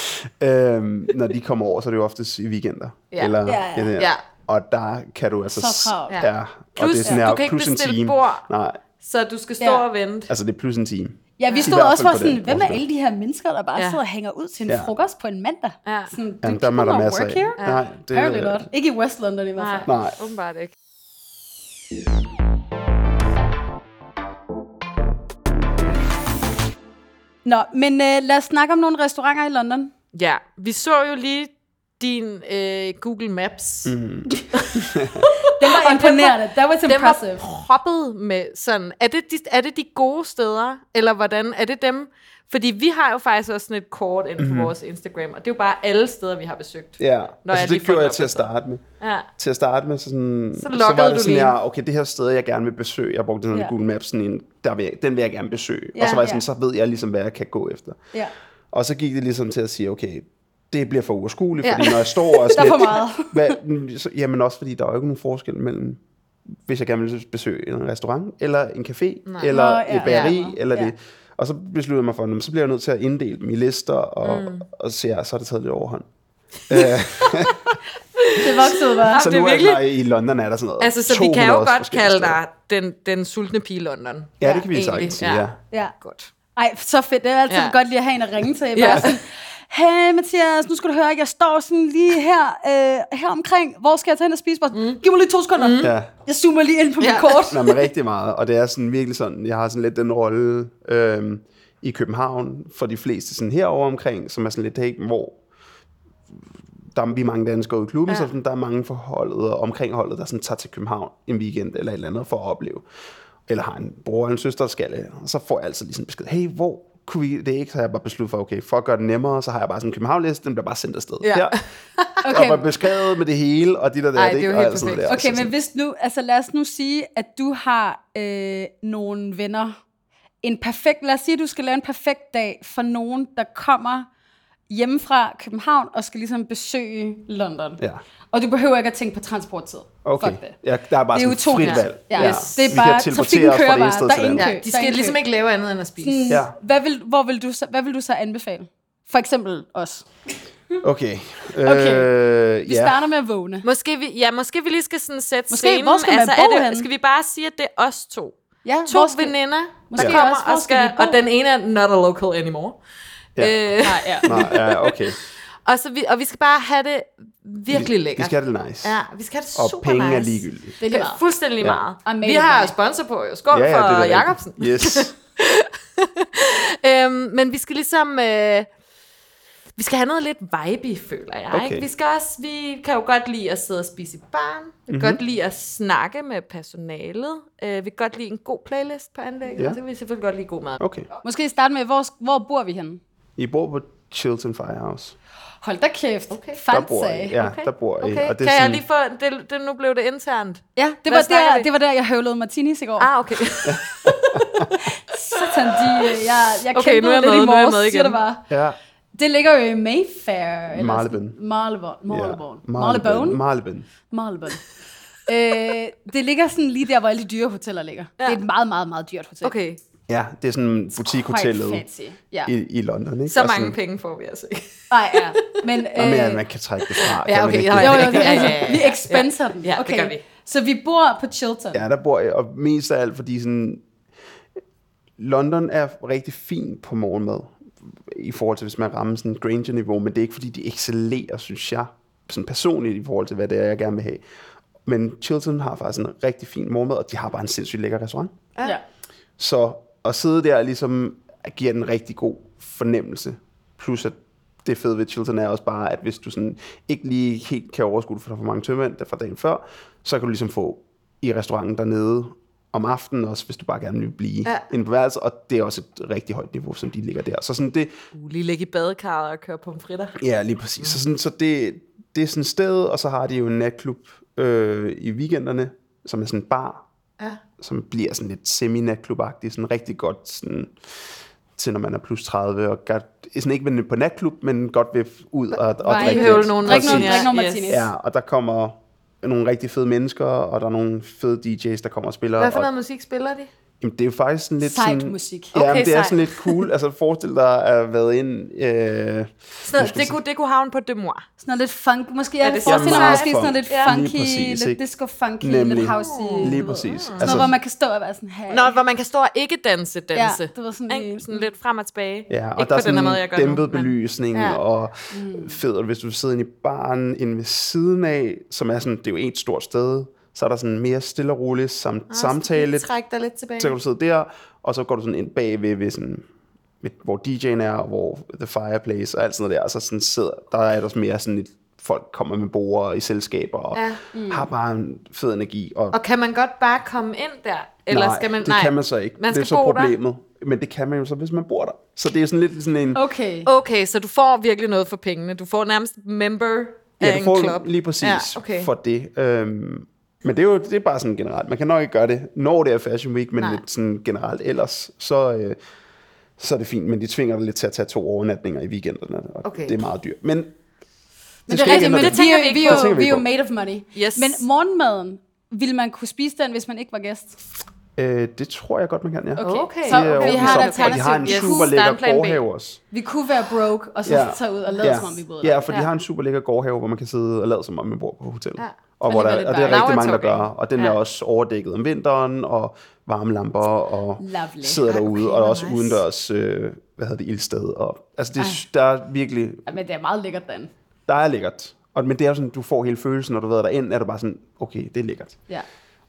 S5: øhm, når de kommer over, så er det jo oftest i weekender.
S3: Ja.
S5: Eller,
S4: Ja, ja.
S5: det der.
S3: Ja.
S5: Og der kan du altså...
S4: Så
S5: s-
S4: travlt.
S5: Ja. ja. og
S3: Plus-
S5: det er sådan
S3: ja.
S5: her,
S3: du kan ikke
S5: plus en
S3: bestille
S5: time.
S3: bord.
S5: Nej,
S3: Så du skal stå
S4: Ja.
S3: ja. og vente.
S5: altså det er plus en time.
S4: Ja, vi
S5: I
S4: stod
S5: hvert
S4: også
S5: fald
S4: for
S5: på den
S4: sådan, hvem er
S5: forskel.
S4: alle de her mennesker, der bare
S3: Ja.
S4: sidder og hænger ud til en
S5: Ja.
S4: frokost på en mandag?
S3: Ja.
S4: Sådan,
S5: Jamen,
S4: du
S5: der er der
S4: don't
S5: masser
S4: work
S5: af.
S4: here?
S5: Nej, det,
S4: Apparently not. Ikke i West London i hvert fald.
S3: Nej,
S5: Nej.
S3: åbenbart ikke.
S4: Nå, men øh, lad os snakke om nogle restauranter i London.
S3: Ja, vi så jo lige din øh, Google Maps.
S5: Mhm.
S3: Mm.
S4: Den var imponerende. That was
S3: Den
S4: impressive.
S3: var proppet med sådan, er det, de, er det de gode steder, eller hvordan, er det dem? Fordi vi har jo faktisk også sådan et kort inde på mm-hmm. vores Instagram, og det er jo bare alle steder, vi har besøgt.
S5: Mhm. Ja,
S3: Når jeg
S5: altså
S3: lige
S5: det
S3: får den
S5: gjorde jeg
S3: op
S5: til at
S3: og stå.
S5: starte med.
S3: Ja.
S5: Til at starte med, så, sådan,
S3: Så
S5: så
S3: lokkede
S5: var
S3: du
S5: det sådan,
S3: lige.
S5: ja, okay, det her sted, jeg gerne vil besøge. Jeg brugte sådan
S4: Ja.
S5: en Google Maps, sådan en, der vil jeg, den vil jeg gerne besøge.
S4: Ja,
S5: og så var jeg sådan,
S4: ja.
S5: så ved jeg ligesom, hvad jeg kan gå efter.
S4: Ja.
S5: Og så gik det ligesom til at sige, okay, det bliver for uoverskueligt,
S3: Ja.
S5: fordi når jeg
S4: <laughs>
S5: står og
S4: Der er
S5: sådan
S4: for
S5: lidt-
S4: meget.
S5: <laughs> Hvad, så- jamen også fordi, der er jo ikke nogen forskel mellem, hvis jeg gerne vil besøge en restaurant, eller en café, Nej. eller
S4: Nå,
S5: Nå,
S4: ja.
S5: ja, et bageri,
S4: Ja.
S5: ja, eller
S4: Ja.
S5: det. Og så besluttede jeg mig for, "Nå, men så bliver jeg nødt til at inddele dem i lister, og, mm. og så, ja, så har det taget lidt overhånd.
S4: Det voksede bare.
S5: Så
S3: det er
S5: nu
S3: virkelig-
S5: er jeg, i London er der sådan noget
S3: Altså, så vi kan jo
S5: 200
S3: godt
S5: forskellige
S3: kalde
S5: steder.
S3: dig den, den sultne pige i London.
S5: Ja, det kan vi
S3: egentlig.
S5: sagtens sige, ja.
S4: Ja.
S3: Godt.
S4: Ej, så fedt. Det er altid ja.
S3: Ja.
S4: godt lige at have en at ringe til. Bare ja.
S3: Ja.
S4: sådan, hey Mathias, nu skal du høre, jeg står sådan lige her, øh, her omkring. Hvor skal jeg tage hen og spise? Bare, mm. Giv mig lige to sekunder. Mm.
S5: Ja.
S4: Jeg zoomer lige ind på ja. mit
S3: Ja.
S4: kort.
S5: Nå, men rigtig meget, og det er sådan virkelig sådan, jeg har sådan lidt den rolle øhm, i København for de fleste sådan herover omkring, som er sådan lidt, hey, hvor der er, vi er mange danskere ude i klubben, ja. så sådan, der er mange fra holdet og omkring holdet, der sådan, tager til København en weekend eller et eller andet for at opleve. Eller har en bror eller en søster, der skal. det. Og så får jeg altid lige sådan besked, hey, hvor kunne vi det ikke? Så har jeg bare besluttet for, okay, for at gøre det nemmere, så har jeg bare sådan en København-liste, den bliver bare sendt afsted.
S3: Ja. <laughs>
S5: Her. Okay. Og var beskrevet med det hele, og dit og der.
S3: Ej, det er jo
S5: ikke?
S3: helt
S5: og alt sådan
S3: perfekt.
S5: noget
S4: Okay,
S5: Så sådan-
S4: men hvis nu, altså lad os nu sige, at du har øh, nogle venner. En perfekt, lad os sige, at du skal lave en perfekt dag for nogen, der kommer hjemme fra København og skal ligesom besøge London.
S5: Ja.
S4: Og du behøver ikke at tænke på transporttid.
S5: Okay.
S4: Fuck det.
S5: Ja, der er bare
S4: Det er
S5: sådan
S4: jo to
S5: frit
S4: ja.
S5: valg.
S4: Ja. Yes. Det er
S5: Vi
S4: bare-
S5: kan
S4: trafikken
S5: teleportere os
S4: kører
S5: fra det ene
S4: bare.
S5: sted
S4: Der er
S5: til det andet.
S4: ingen
S3: Ja, de
S4: Der er
S3: skal
S4: en
S3: ligesom
S4: kø.
S3: ikke lave andet end at spise. Mm.
S4: <laughs>
S5: Ja.
S4: Hvad vil, hvor vil du så, hvad vil du så anbefale? For eksempel os.
S5: Okay.
S4: Okay.
S5: Øh,
S4: Vi ja. starter med at vågne.
S3: Måske vi, ja, måske vi lige skal sådan sætte
S4: Måske,
S3: scenen. Altså,
S4: hvor skal man bo
S3: er
S4: henne?
S3: det, skal vi bare sige, at det er os to?
S4: Ja,
S3: To
S4: hvor
S3: skal, veninder,
S4: måske
S3: der kommer
S4: også, hvor
S3: og
S4: skal
S3: skal,
S4: vi bo?
S3: og den ene er not a local anymore.
S5: Ja.
S3: Øh,
S4: Nej, ja.
S5: Nej, ja, okay.
S3: og, så vi, og vi skal bare have det virkelig
S5: Vi- Vi
S3: lækkert.
S5: skal have det nice.
S3: ja, vi skal have det
S5: og
S3: super
S5: penge
S3: nice.
S5: er ligegyldige.
S4: Det er lige meget.
S3: Fuldstændig
S5: Ja.
S3: meget.
S4: Og made
S3: Vi
S4: it
S3: har
S4: right.
S3: sponsor på jo. Skål
S5: det er da
S3: for
S5: rigtigt.
S3: Jacobsen.
S4: <laughs>
S5: Yes.
S3: Øhm, men vi skal ligesom... Øh, vi skal have noget lidt vibe, føler jeg.
S5: Okay.
S3: Ikke? Vi, skal også, vi kan jo godt lide at sidde og spise i barn. Vi kan
S5: Mhm.
S3: mm-hmm. godt lide at snakke med personalet. Øh, vi kan godt lide en god playlist på anlægget.
S5: Ja.
S3: Ja. Og så kan vi selvfølgelig godt lide god mad.
S5: Okay.
S4: Måske starte med, hvor, hvor bor vi henne?
S5: I bor på Chilton Firehouse.
S4: Hold da kæft. Okay.
S5: Der bor I.
S4: Ja.
S5: Ja, der bor I.
S3: Okay.
S5: Og det er
S3: kan
S5: sådan,
S3: jeg lige få... Det, det, nu blev det internt.
S4: ja, det
S3: Hvad
S4: var,
S3: snakker
S4: der,
S3: vi?
S4: det var der, jeg høvlede Martinis i går.
S3: Ah,
S5: <laughs>
S3: okay.
S4: Satan, de, øh, jeg, jeg
S3: Okay,
S4: okay,
S3: nu er
S4: kæmpede
S3: jeg
S4: lidt
S3: med,
S4: i
S3: nu er jeg
S4: morges,
S3: med
S4: siger
S3: igen.
S4: det bare.
S5: Ja.
S4: Det ligger jo i Mayfair. eller
S5: Marylebone.
S4: sådan- Marylebone. Marylebone.
S5: Ja.
S4: Marylebone.
S5: Marlebone.
S4: Marylebone. øh, det ligger sådan lige der, hvor alle de dyre hoteller ligger. Ja. Det er et meget, meget, meget dyrt hotel.
S3: okay.
S5: Ja, det er sådan
S4: Quite
S5: butikhotellet
S4: fancy. Ja.
S5: i, i London, ikke?
S3: Så
S5: Og
S3: mange
S5: sådan-
S3: penge får vi altså ikke.
S4: Nej, ja. Men,
S5: Nå, men ja,
S4: øh,
S5: man kan trække det fra.
S3: Ja,
S5: kan man
S3: okay,
S5: ikke
S3: ja,
S5: det?
S4: jo,
S3: ja,
S4: jo, det,
S3: ja,
S4: altså,
S3: ja, ja.
S4: vi expenser dem.
S3: Ja, det
S4: okay.
S3: gør vi.
S4: Så vi bor på Chilton.
S5: Ja, der bor jeg, og mest af alt, fordi sådan, London er rigtig fin på morgenmad, i forhold til, hvis man rammer sådan Granger-niveau, men det er ikke, fordi de excellerer, synes jeg, sådan personligt i forhold til, hvad det er, jeg gerne vil have. Men Chilton har faktisk en rigtig fin morgenmad, og de har bare en sindssygt lækker restaurant.
S4: ja.
S5: Så at sidde der ligesom giver den en rigtig god fornemmelse. Plus at det fede ved Chilton er også bare, at hvis du sådan ikke lige helt kan overskue det, for der er for mange tømmermænd der fra dagen før, så kan du ligesom få i restauranten dernede om aftenen også, hvis du bare gerne vil blive ja.
S3: Ja.
S5: inde på værelset, og det er også et rigtig højt niveau, som de ligger der. Så sådan det,
S3: Uh, lige ligge i badekarret og køre pomfritter.
S5: Ja, lige præcis. Så, sådan, så det, det er sådan stedet, og så har de jo en natklub øh, i weekenderne, som er sådan en bar,
S3: Ja.
S5: som bliver sådan lidt semi-natklubagtig, sådan rigtig godt sådan, til når man er plus 30, og godt, sådan ikke vil på natklub, men godt vil ud og, og
S4: Vibehøvle
S5: drikke
S3: Høvle
S5: lidt.
S3: nogle
S4: Drik nogle,
S5: Præcis.
S4: drik nogle
S3: Yes.
S4: Martinis.
S5: Ja, og der kommer nogle rigtig fede mennesker, og der er nogle fede DJ's, der kommer og spiller.
S3: Hvad for
S5: og,
S3: noget musik spiller de?
S5: Jamen, det er jo faktisk sådan lidt
S4: Sejt
S5: sådan...
S4: musik.
S5: Ja, men det er
S3: sejt.
S5: sådan lidt cool. Altså, forestil dig at have været ind... Øh,
S3: Sådan,
S5: Nu skal vi
S3: det,
S5: se.
S3: kunne, det kunne havne på Demois.
S4: Sådan noget lidt funk. Måske jeg
S3: det
S4: forestiller mig
S5: meget
S4: måske sådan
S5: funk.
S4: noget lidt
S5: Ja.
S4: funky,
S5: Lige præcis,
S4: lidt
S5: ikke?
S4: disco-funky,
S5: Nemlig.
S4: lidt housey.
S5: Lige
S4: du ved.
S5: præcis. Altså,
S4: Sådan noget, hvor man kan stå og være sådan her.
S3: Nå, hvor man kan stå og ikke danse, danse.
S4: Ja, det var sådan
S3: Ikke?
S4: lige-
S3: sådan lidt frem og tilbage.
S5: Ja, og
S3: ikke
S5: der
S3: på den her
S5: er sådan
S3: måde, jeg gør
S5: dæmpet
S3: nu, men-
S5: belysning, ja.
S3: Ja. Mm.
S5: og fedt, og hvis du sidder inde i baren inde ved siden af, som er sådan, det er jo et stort sted, så er der sådan mere stille og roligt sam- ah, samtale,
S3: Lige Træk dig lidt tilbage.
S5: så kan du sidde der, og så går du sådan ind bagved, ved sådan, ved, hvor DJ'en er, og hvor The Fireplace og alt sådan noget der, og så sådan sidder, der er der sådan mere sådan et, folk kommer med borer i selskaber, og ja.
S3: Ja.
S5: mm. har bare en fed energi, og,
S3: Og kan man godt bare komme ind der? Eller
S5: nej,
S3: skal man,
S5: det kan man så ikke,
S3: Man
S5: det
S3: skal
S5: er så
S3: bo der.
S5: problemet, men det kan man jo så, hvis man bor der, så det er sådan lidt sådan en,
S4: Okay.
S3: Okay, så du får virkelig noget for pengene. Du får nærmest member af
S5: Ja, du
S3: en
S5: får
S3: klub.
S5: lige præcis
S3: Ja, okay.
S5: for det. Øhm, men det er jo det er bare sådan generelt. Man kan nok ikke gøre det, når det er Fashion Week, men
S3: Nej.
S5: lidt sådan generelt ellers, så, øh, så er det fint. Men de tvinger dig lidt til at tage to overnatninger i weekenderne, og
S3: Okay.
S5: det er meget dyrt. Men,
S4: Men det
S5: skal
S4: er rigtigt,
S5: ikke
S4: men
S5: ændre
S4: det tænker vi, vi,
S5: på.
S4: er
S5: Det
S4: jo,
S5: tænker vi
S4: vi er jo
S5: ikke
S4: made of money.
S3: Yes.
S4: Men morgenmaden, ville man kunne spise den, hvis man ikke var gæst?
S5: Øh, det tror jeg godt, man kan, ja. Okay.
S3: Okay.
S4: Så
S5: Det er
S4: vi
S5: overbevist
S4: har et
S5: om. og de har en
S4: alternativ.
S3: Yes.
S5: super
S3: Der er
S5: lækker
S3: en plan B.
S5: gårdhave også.
S4: Vi kunne være broke, og så
S5: Ja.
S4: tage ud og lade, som om vi boede
S5: ja,
S4: der.
S5: for de har en super lækker gårdhave, hvor man kan sidde og lade som om, man bor på hotellet. Ja.
S3: Ja.
S5: Og, hvor
S4: Og det
S5: der,
S4: var lidt
S5: og det er
S4: bare-
S3: Now
S5: rigtig mange, der
S3: we're
S5: gør.
S3: talking.
S5: Og den ja. er
S3: Ja.
S5: også overdækket om vinteren, og varme lamper, og
S4: Lovely.
S5: sidder
S4: Ej,
S5: derude, okay, og
S3: hvor
S5: også nice.
S3: nice.
S5: udendørs, øh, hvad hedder det, ildsted. Og, altså, det, er- der er virkelig,
S4: Ja, men det er meget lækkert, Dan.
S5: der er lækkert. Og, men det er jo sådan, du får hele følelsen, når du ved derind, er du bare sådan, okay, det er lækkert.
S4: Ja.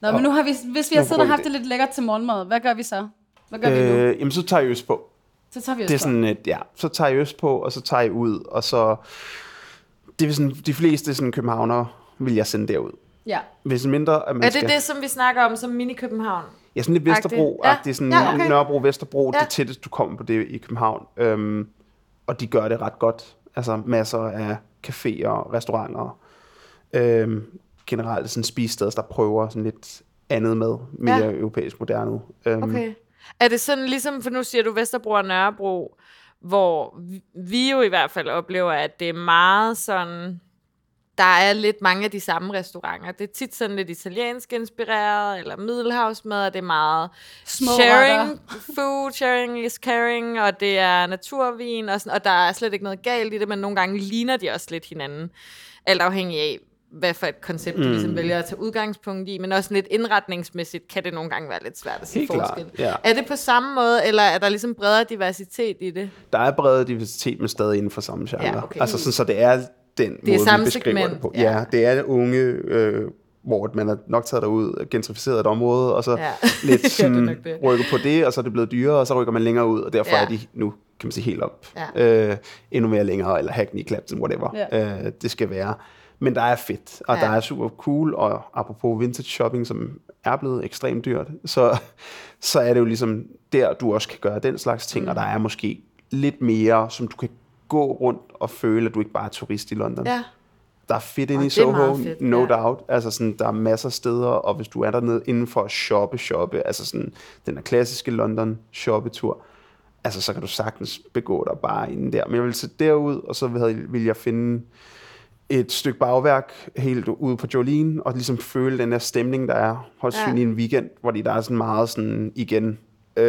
S4: Nå, men nu har vi, hvis vi har
S5: Nu
S4: siddet og
S5: får vi
S4: haft
S5: det.
S4: det lidt lækkert til morgenmad, hvad gør vi så? Hvad gør vi nu?
S5: Øh, jamen, så tager I øst på.
S4: Så tager vi os
S5: øh, Det er sådan et, ja, så tager I øst på, og så tager I ud, og så... det er sådan, de fleste sådan, københavnere vil jeg sende derud.
S4: Ja.
S5: Hvis mindre, at man
S3: Er
S5: skal...
S3: det det, som vi snakker om som mini-København?
S5: Ja, sådan lidt Vesterbro. Ja. Det er sådan ja, okay. Nørrebro, Vesterbro, ja.
S3: Ja.
S5: det tætteste, du kommer på det i København. Øhm, og de gør det ret godt. Altså masser af caféer og restauranter. Øhm, generelt sådan spisesteder, der prøver sådan lidt andet med, mere
S3: Ja.
S5: ja. europæisk moderne. Øhm,
S3: Okay. Er det sådan ligesom, for nu siger du Vesterbro og Nørrebro, hvor vi- vi jo i hvert fald oplever, at det er meget sådan, der er lidt mange af de samme restauranter. Det er tit sådan lidt italiensk inspireret, eller middelhavsmad, og det er meget
S4: Små
S3: sharing
S4: retter.
S3: <laughs> food, sharing is caring, og det er naturvin, og, sådan, og der er slet ikke noget galt i det, men nogle gange ligner de også lidt hinanden, alt afhængig af, hvad for et koncept, mm. du ligesom vælger at tage udgangspunkt i, men også sådan lidt indretningsmæssigt kan det nogle gange være lidt svært at se
S5: Helt klart,
S3: forskel.
S5: ja.
S3: Er det på samme måde, eller er der ligesom bredere diversitet i det?
S5: Der er bred diversitet, men stadig inden for samme genre.
S3: Ja, okay.
S5: Altså sådan, så det er den
S3: er
S5: måde,
S3: samme
S5: vi beskriver
S3: segment,
S5: det på.
S3: ja.
S5: Ja. ja, det er unge, øh, hvor man har nok taget derud og gentrificeret et område, og så
S3: Ja.
S5: ja.
S3: <laughs> Ja,
S5: lidt
S3: det er
S5: sådan,
S3: nok det.
S5: rykker på det, og så er det blevet dyrere, og så rykker man længere ud, og derfor
S3: Ja.
S5: ja. er de nu, kan man sige, helt op.
S3: Ja.
S5: Øh, endnu mere længere, eller Hackney, Clapton, whatever. Ja. Øh, det skal være. Men der er fedt, og
S3: Ja.
S5: ja. der er super cool, og apropos vintage shopping, som er blevet ekstremt dyrt, så, så er det jo ligesom der, du også kan gøre den slags ting, mm. og der er måske lidt mere, som du kan gå rundt og føle, at du ikke bare er turist i London.
S3: Ja.
S5: Der er fedt inde
S3: Og
S5: i
S3: det er
S5: Soho,
S3: meget fedt,
S5: no
S3: ja.
S5: ja. doubt. Altså sådan, der er masser af steder, og hvis du er dernede inden for at shoppe, shoppe, altså sådan den der klassiske London shoppetur, altså så kan du sagtens begå dig bare inden der. Men jeg vil se derud, og så havde- vil jeg finde et stykke bagværk helt ude på Jolene, og ligesom føle den der stemning, der er højst
S3: Ja.
S5: synlig en weekend, hvor de- der er sådan meget sådan igen... Øh,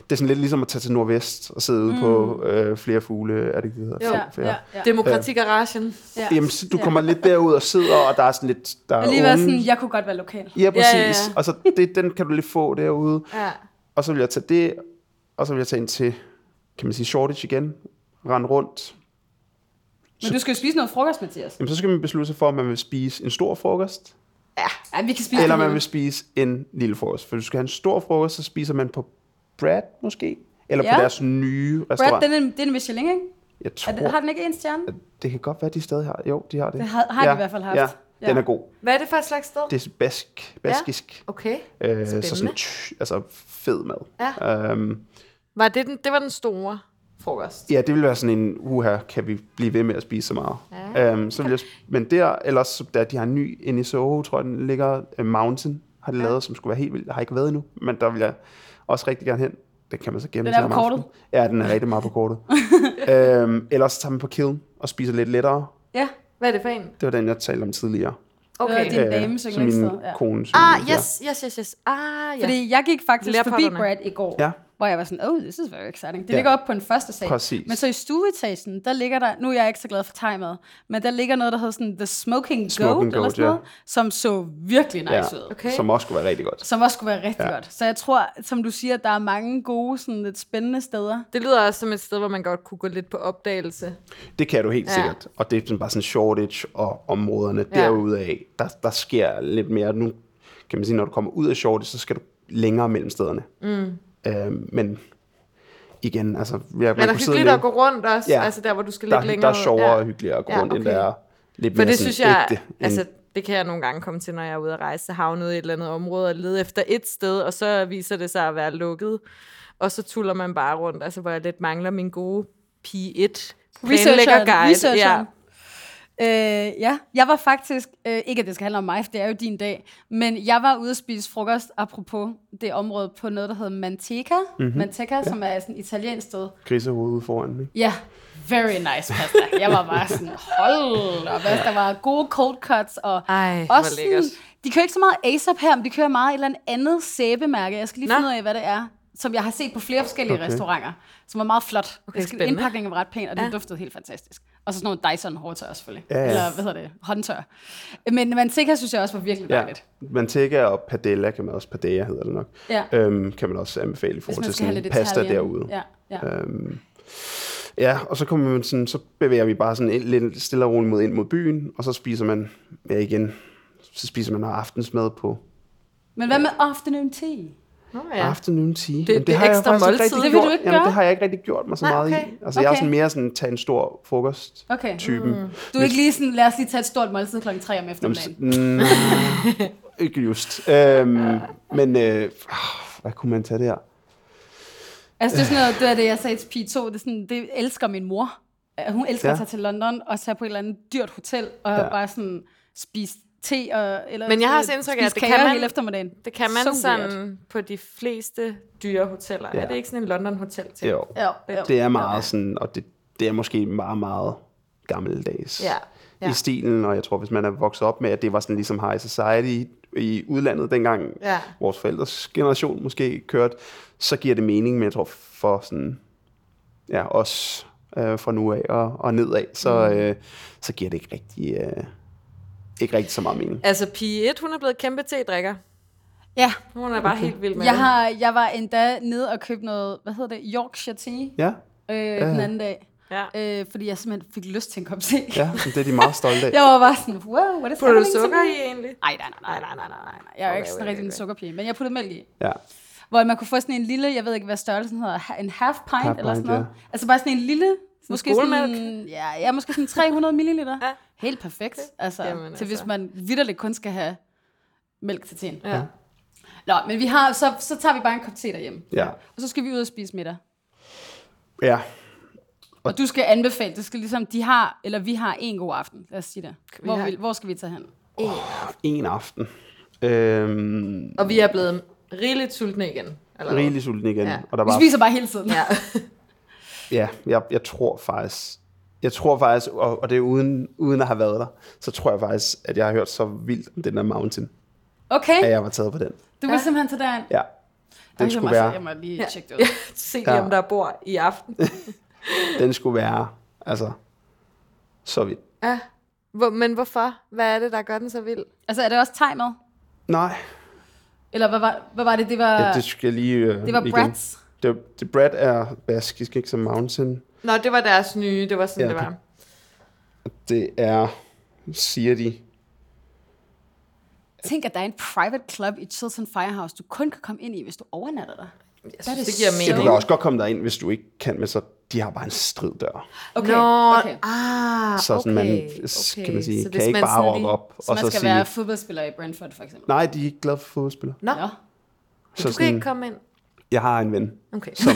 S5: det er sådan lidt ligesom at tage til Nordvest og sidde ude mm. på øh, flere fugle, er det ikke, det hedder?
S4: Ja, ja, ja.
S3: Demokratigaragen.
S4: ja.
S5: Jamen, så du kommer lidt derud og sidder, og der er sådan lidt... Der er
S4: Og lige være
S5: unge.
S4: sådan, jeg kunne godt være lokal.
S5: Ja, præcis.
S3: ja,
S5: Ja,
S3: ja.
S5: ja. Og så det, den kan du lige få derude.
S3: Ja.
S5: Og så vil jeg tage det, og så vil jeg tage ind til, kan man sige, Shortage igen. Rende rundt.
S4: Men du skal jo spise noget frokost, Mathias.
S5: Jamen, så skal man beslutte sig for, om man vil spise en stor frokost,
S4: Ja, vi kan spise
S5: eller
S4: det
S5: man
S4: hele.
S5: vil spise en lille frokost. For hvis du skal have en stor frokost, så spiser man på Brad, måske. Eller ja.
S4: Ja.
S5: på deres nye
S4: Brad,
S5: restaurant.
S4: den er, en- det er en Michelin, ikke?
S5: Jeg tror,
S4: Er det, har den ikke en stjerne?
S5: at det kan godt være, de stadig har. Jo, de har det.
S4: Det har- har de i hvert fald haft.
S5: Ja,
S4: Ja.
S5: den er god.
S3: Hvad er det for et slags sted?
S5: Det er bask, baskisk.
S3: Okay.
S5: Øh, så
S3: Spændende.
S5: sådan tsh, altså fed mad.
S3: Ja.
S5: Øhm,
S3: Var det, den, det var den store frokost.
S5: ja, det ville være sådan en, uha, kan vi blive ved med at spise så meget?
S3: Ja.
S5: Øhm, så vil jeg, men der, ellers, så- da de har en ny inde i Soho, tror jeg, den ligger uh, Mountain, har de ja. lavet, som skulle være helt vildt. Jeg har ikke været endnu, men der vil jeg også rigtig gerne hen. Det kan man så gemme
S4: Den er
S5: til
S4: på
S5: om
S4: kortet.
S5: aftenen. Ja, den er rigtig meget på kortet. øhm, ellers så tager man på Kiln og spiser lidt lettere.
S4: Ja,
S3: Hvad er det for en? Det
S5: Det var den, jeg talte om tidligere.
S4: okay. det
S3: Okay.
S4: var din
S5: Øh,
S4: dames
S5: som min
S4: yndlingssted. Ja.
S5: kone synes,
S3: Ah,
S5: ja.
S3: yes, yes, yes, yes. Ah, ja.
S4: Fordi jeg gik faktisk forbi
S3: Lerpotterne.
S4: Brad i går,
S5: Ja.
S4: hvor jeg var sådan, oh, this is very exciting. Det
S5: Ja.
S4: ligger op på en første sal.
S5: Præcis.
S4: Men så i stueetagen, der ligger der, nu er jeg ikke så glad for thai-mad, men der ligger noget, der hedder sådan The Smoking,
S5: Smoking
S4: Goat, eller
S5: Goat,
S4: sådan
S5: ja.
S4: noget, som så virkelig nice
S5: Ja,
S4: ud.
S3: Okay.
S5: Som også skulle være rigtig godt.
S4: Som også skulle være rigtig ja.
S5: Ja.
S4: godt. Så jeg tror, som du siger, der er mange gode, sådan lidt spændende steder.
S3: Det lyder også som et sted, hvor man godt kunne gå lidt på opdagelse.
S5: Det kan du helt
S3: Ja.
S5: ja. sikkert. Og det er sådan bare sådan shortage og områderne
S3: Ja.
S5: ja. derudaf. Der, der sker lidt mere nu. Kan man sige, når du kommer ud af shortage, så skal du længere mellem stederne. Mm. Øh, men igen, altså... Jeg,
S3: Men der er hyggeligt at gå rundt også, ja.
S5: Ja.
S3: altså der, hvor du skal
S5: der,
S3: lidt
S5: der
S3: længere.
S5: er sjovere og
S3: ja.
S5: hyggeligere at gå
S3: Ja,
S5: rundt, end
S3: okay.
S5: der er lidt
S3: For
S5: mere
S3: det
S5: sådan
S3: synes jeg,
S5: ægte.
S3: altså
S5: end,
S3: det kan jeg nogle gange komme til, når jeg er ude at rejse, så havne ude i et eller andet område og lede efter et sted, og så viser det sig at være lukket. Og så tuller man bare rundt, altså hvor jeg lidt mangler min gode P1 planlægger guide.
S4: Researcheren.
S3: Ja.
S4: Øh, ja, jeg var faktisk, øh, ikke at det skal handle om mig, for det er jo din dag, men jeg var ude at spise frokost, apropos det område, på noget, der hedder Manteca,
S5: Mhm.
S4: mm-hmm. Manteca ja. som er sådan et italiensk sted.
S5: Grisehovedet foran, ikke?
S4: Ja, very nice pasta. Jeg var bare sådan, hold op, altså, der var gode cold cuts, og
S3: Ej, hvor
S4: også
S3: lækkert.
S4: sådan, de kører ikke så meget Aesop her, men de kører meget et eller andet andet sæbemærke. Jeg skal lige
S3: Nå.
S4: Nå. finde ud af, hvad det er, som jeg har set på flere forskellige okay. restauranter, som var meget flot. Okay, jeg skal,
S3: spændende.
S4: indpakningen var ret pæn, og det
S3: Ja.
S4: ja. duftede helt fantastisk. Og så sådan nogle Dyson hårdtør selvfølgelig.
S5: Ja, ja.
S4: Eller hvad hedder det? Håndtør. Men Manteca synes jeg også var virkelig
S5: Ja.
S4: dejligt.
S5: Manteca og padella kan man også, padella hedder det nok,
S4: Ja.
S5: øhm, kan man også anbefale i
S4: Hvis
S5: forhold
S4: man
S5: til
S4: skal have
S5: sådan
S4: lidt
S5: pasta
S4: Italien.
S5: derude.
S4: Ja, ja.
S5: Øhm, ja, og så kommer man sådan, så bevæger vi bare sådan ind, lidt stille og roligt mod ind mod byen, og så spiser man, ja igen, så spiser man noget aftensmad på.
S4: Men hvad med afternoon tea?
S3: Nå,
S5: ja.
S3: ja.
S5: afternoon tea. Det,
S3: det er ekstra
S5: faktisk ikke
S3: måltid.
S5: rigtig
S4: Det vil du
S5: gjort-
S4: ikke
S5: Jamen,
S4: gøre?
S5: det har jeg ikke rigtig gjort mig så
S4: Nej,
S5: meget
S4: okay.
S5: i. Altså, jeg er
S4: Okay.
S5: sådan mere sådan, tage en stor frokost
S4: Okay.
S5: typen. Mm.
S4: Du er ikke lige sådan, lad os lige tage et stort måltid klokken 3 om eftermiddagen.
S5: Jamen, s- nej, ikke just. Øhm, men øh, ah, hvad kunne man tage der?
S4: Altså, det er sådan noget, det, er det jeg sagde til pige 2, det, er sådan, det elsker min mor. Øh, Hun elsker
S5: Ja.
S4: ja. at tage til London og tage på et eller andet dyrt hotel og
S5: Ja.
S4: ja. bare sådan spise te og, eller
S3: Men jeg har også
S4: øh,
S3: indtryk af,
S4: spise
S3: at det kan
S4: kager
S3: man-
S4: hele eftermiddagen.
S3: Det kan man
S4: So
S3: so
S4: weird.
S3: sådan weird. på de fleste dyre hoteller.
S5: Ja.
S3: Ja. Er det ikke sådan en London hotel til?
S5: Jo,
S4: Ja, ja.
S5: det er meget sådan, og det, det er måske meget, meget gammeldags.
S3: Ja, ja.
S5: I stilen, og jeg tror, hvis man er vokset op med, at det var sådan ligesom high society i, i udlandet dengang,
S3: Ja.
S5: vores forældres generation måske kørte, så giver det mening, men jeg tror for sådan, ja, os øh, fra nu af og, og nedad, så, øh, så giver det ikke rigtig, øh, ikke rigtig så meget mening.
S3: Altså pige 1, hun er blevet kæmpe te-drikker.
S4: Ja,
S3: Hun er bare okay. helt vild med
S4: jeg,
S3: det.
S4: har, jeg var endda nede og købte noget, hvad hedder det, Yorkshire tea
S5: Ja,
S4: øh, den anden dag.
S3: Ja.
S4: Øh, fordi jeg simpelthen fik lyst til en kop te.
S5: ja, men det er de meget
S4: <laughs>
S5: stolte af.
S4: Jeg var bare sådan, wow, what is
S3: Putter du
S4: happening to
S3: sukker
S4: me?
S3: i egentlig?
S4: Ej, nej, nej, nej.
S3: Nej, nej, nej, nej. nej.
S4: Jeg er jo
S3: Okay,
S4: ikke sådan
S3: okay,
S4: rigtig en
S3: okay.
S4: sukkerpige, men jeg puttede mælk i.
S5: Ja,
S4: Hvor man kunne få sådan en lille, jeg ved ikke, hvad størrelsen hedder, ha- en half pint,
S5: Half
S4: half eller sådan
S5: pint,
S4: noget. Ja. Altså bare sådan en lille, sådan måske sådan,
S3: skolemælk?
S4: ja, ja, måske sådan 300 milliliter.
S3: Ja.
S4: ja. Helt perfekt, altså,
S3: Jamen,
S4: Jamen, til hvis
S3: altså.
S4: man vidderligt kun skal have mælk til teen.
S3: Ja.
S4: Nå, men vi har, så, så tager vi bare en kop te derhjemme.
S5: Ja.
S4: Og så skal vi ud og spise middag.
S5: ja.
S4: Og du skal anbefale, det skal ligesom, de har, eller vi har en god aften, lad os sige det. Hvor,
S3: har-
S4: vi, hvor skal vi tage hen?
S5: en aften. Øhm,
S3: Og vi er blevet rigeligt sultne igen. Eller? hvad?
S5: rigelig sulten igen.
S3: Ja.
S5: Og der
S4: Vi
S5: var,
S4: spiser bare hele tiden.
S3: Ja.
S5: ja, jeg, jeg tror faktisk, jeg tror faktisk, og, og det er uden, uden at have været der, så tror jeg faktisk, at jeg har hørt så vildt om den der mountain,
S4: Okay,
S5: at jeg var taget på den.
S4: du vil simpelthen tage derind.
S5: Ja,
S4: Ej, jeg,
S5: den
S4: må,
S5: skulle
S4: altså, jeg
S5: være,
S4: må lige tjekke det ud.
S3: ja. <laughs> Se lige,
S5: Ja.
S3: om der bor i aften.
S5: den skulle være, altså, så vildt.
S3: Ja. Hvor, men hvorfor? Hvad er det, der gør den så vild?
S4: Altså, er det også thai med?
S5: Nej,
S4: Eller hvad var, hvad var det, det var...
S5: ja, det skal jeg lige øh,
S4: Det var
S5: igen.
S4: Bratz.
S5: Det, var- det Brad er baskisk, ikke som mountain.
S3: Nå, det var deres nye. Det var sådan,
S5: Ja,
S3: ja, det var.
S5: det- Det er, siger de,
S4: Tænk, at der er en private club i Chilton Firehouse, du kun kan komme ind i, hvis du overnatter der.
S3: Jeg
S4: er
S3: synes, det,
S4: det
S3: det giver
S4: så-
S5: ja,
S3: mening.
S5: du kan også godt komme derind, hvis du ikke kan, men så de har bare en strid dør.
S4: Okay,
S3: Nå,
S4: okay.
S3: ah,
S5: Så sådan, man,
S3: okay,
S5: s-
S3: okay.
S5: kan man sige,
S3: Så
S5: så
S3: hvis
S5: kan ikke
S3: man
S5: bare
S3: sådan
S5: råbe
S3: lige-
S5: op
S4: Så
S5: og
S4: man
S5: så
S4: skal
S5: sige,
S4: være fodboldspiller i Brentford, for eksempel.
S5: nej, de er ikke glade for fodboldspillere.
S3: Nå,
S4: Nå.
S5: Så
S3: du kan ikke komme ind.
S5: Jeg har en ven.
S3: Okay.
S5: Som,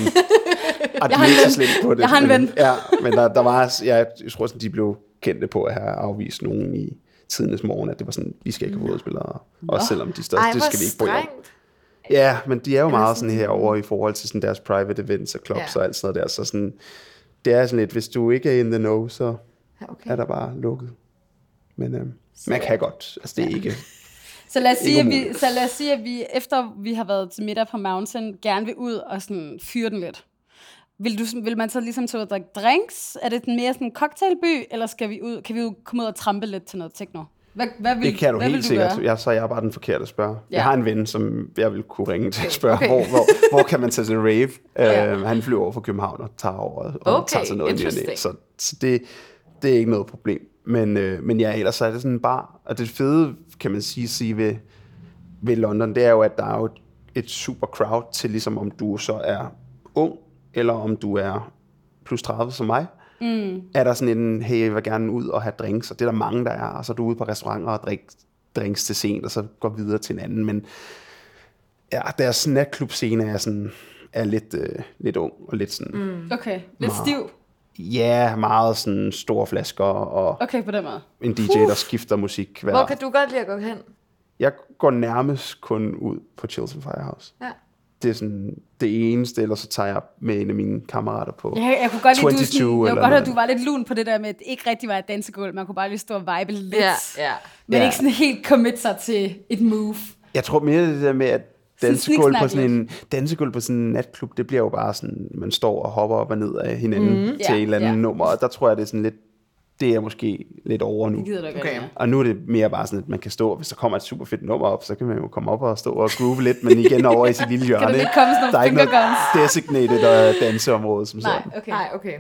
S5: og jeg
S4: har en
S5: ikke så
S4: ven.
S5: slemt på det.
S4: Jeg har en
S5: men-
S4: ven.
S5: Ja, men der, der var, også- jeg, jeg tror sådan, de blev kendte på at have afvist nogen i tidernes morgen, at det var sådan, vi skal ikke have fodboldspillere. Også selvom de største,
S3: Ej,
S5: det
S3: hvor
S5: skal vi ikke bryde om.
S3: strengt.
S5: Ja, men de er jo meget sådan herover i forhold til sådan deres private events og clubs
S3: Ja.
S5: ja. og alt sådan noget der. Så sådan, det er sådan lidt, hvis du ikke er in the know, så
S3: Ja, okay.
S5: er der bare lukket. Men øhm, man kan godt. Altså, det er ikke...
S4: Så lad, os sige, at vi,
S5: umuligt.
S4: så lad os sige, at vi efter vi har været til middag på Mountain, gerne vil ud og sådan fyre den lidt. Vil, du, sådan- vil man så ligesom tage ud og drikke drinks? Er det den mere sådan en cocktailby, eller skal vi ud, kan vi jo komme ud og trampe lidt til noget techno? Hvad, hvad vil,
S5: Det kan du
S4: hvad
S5: helt
S4: vil
S5: sikkert.
S4: Gøre?
S5: Jeg, så er jeg bare den forkerte at spørge. Ja.
S4: Ja.
S5: Jeg har en ven, som jeg vil kunne ringe til og spørge, okay.
S3: Okay.
S5: hvor, hvor, hvor kan man tage til rave?
S4: Ja.
S5: Ja. Uh, han flyver over fra København og tager over og okay.
S3: Okay,
S5: tager sådan noget. i ny og næ.
S3: interesting.
S5: Så, så det, det er ikke noget problem. Men, øh, men ja, ellers så er det sådan en bar. Og det fede, kan man sige, sige ved, ved London, det er jo, at der er jo et, et super crowd til ligesom om du så er ung, eller om du er plus 30 som mig, mm. er der sådan en, hey, jeg vil gerne ud og have drinks, og det er der mange, der er, og så er du ude på restauranter og drik drinks til sent, og så går videre til en anden, men ja, deres natklubscene er sådan, er lidt, øh, lidt ung, og lidt sådan, mm.
S4: Okay, lidt
S5: Meget.
S4: stiv.
S5: ja, meget sådan store flasker, og
S4: Okay, på den måde.
S5: en DJ, der skifter musik hver.
S3: Hvor kan du godt lide at gå hen?
S5: Jeg går nærmest kun ud på Chilton Firehouse.
S3: Ja.
S5: Det er sådan det eneste, eller så tager jeg med en af mine kammerater på.
S4: Ja, jeg kunne godt lide, du,
S5: 22
S4: sådan, jeg
S5: eller
S4: kunne godt høre,
S5: noget.
S4: at du var lidt lun på det der med, at det ikke rigtig var et dansegulv. Man kunne bare lige stå og vibe lidt.
S3: Ja, ja.
S4: Men
S5: Ja.
S4: ikke sådan helt commit sig til et move.
S5: Jeg tror mere det der med, at
S4: Sådan
S5: dansegulv på
S4: sniksnak
S5: sådan en dansegulv på sådan en natklub, det bliver jo bare sådan, man står og hopper op og ned af hinanden mm. til
S4: Mhm. Ja,
S5: et eller andet
S4: ja.
S5: nummer, og der tror jeg, det er sådan lidt, det er måske lidt over nu.
S4: Det gider du ikke. Okay.
S5: Og nu er det mere bare sådan, at man kan stå, og hvis der kommer et super fedt nummer op, så kan man jo komme op og stå og groove lidt,
S4: <laughs>
S5: men igen over i sit lille hjørne.
S4: ikke
S5: ikke?
S4: komme sådan nogle
S5: der er ikke noget
S4: finger guns?
S5: designated øh, danseområde som
S4: Nej,
S5: sådan.
S4: okay.
S3: Nej, okay.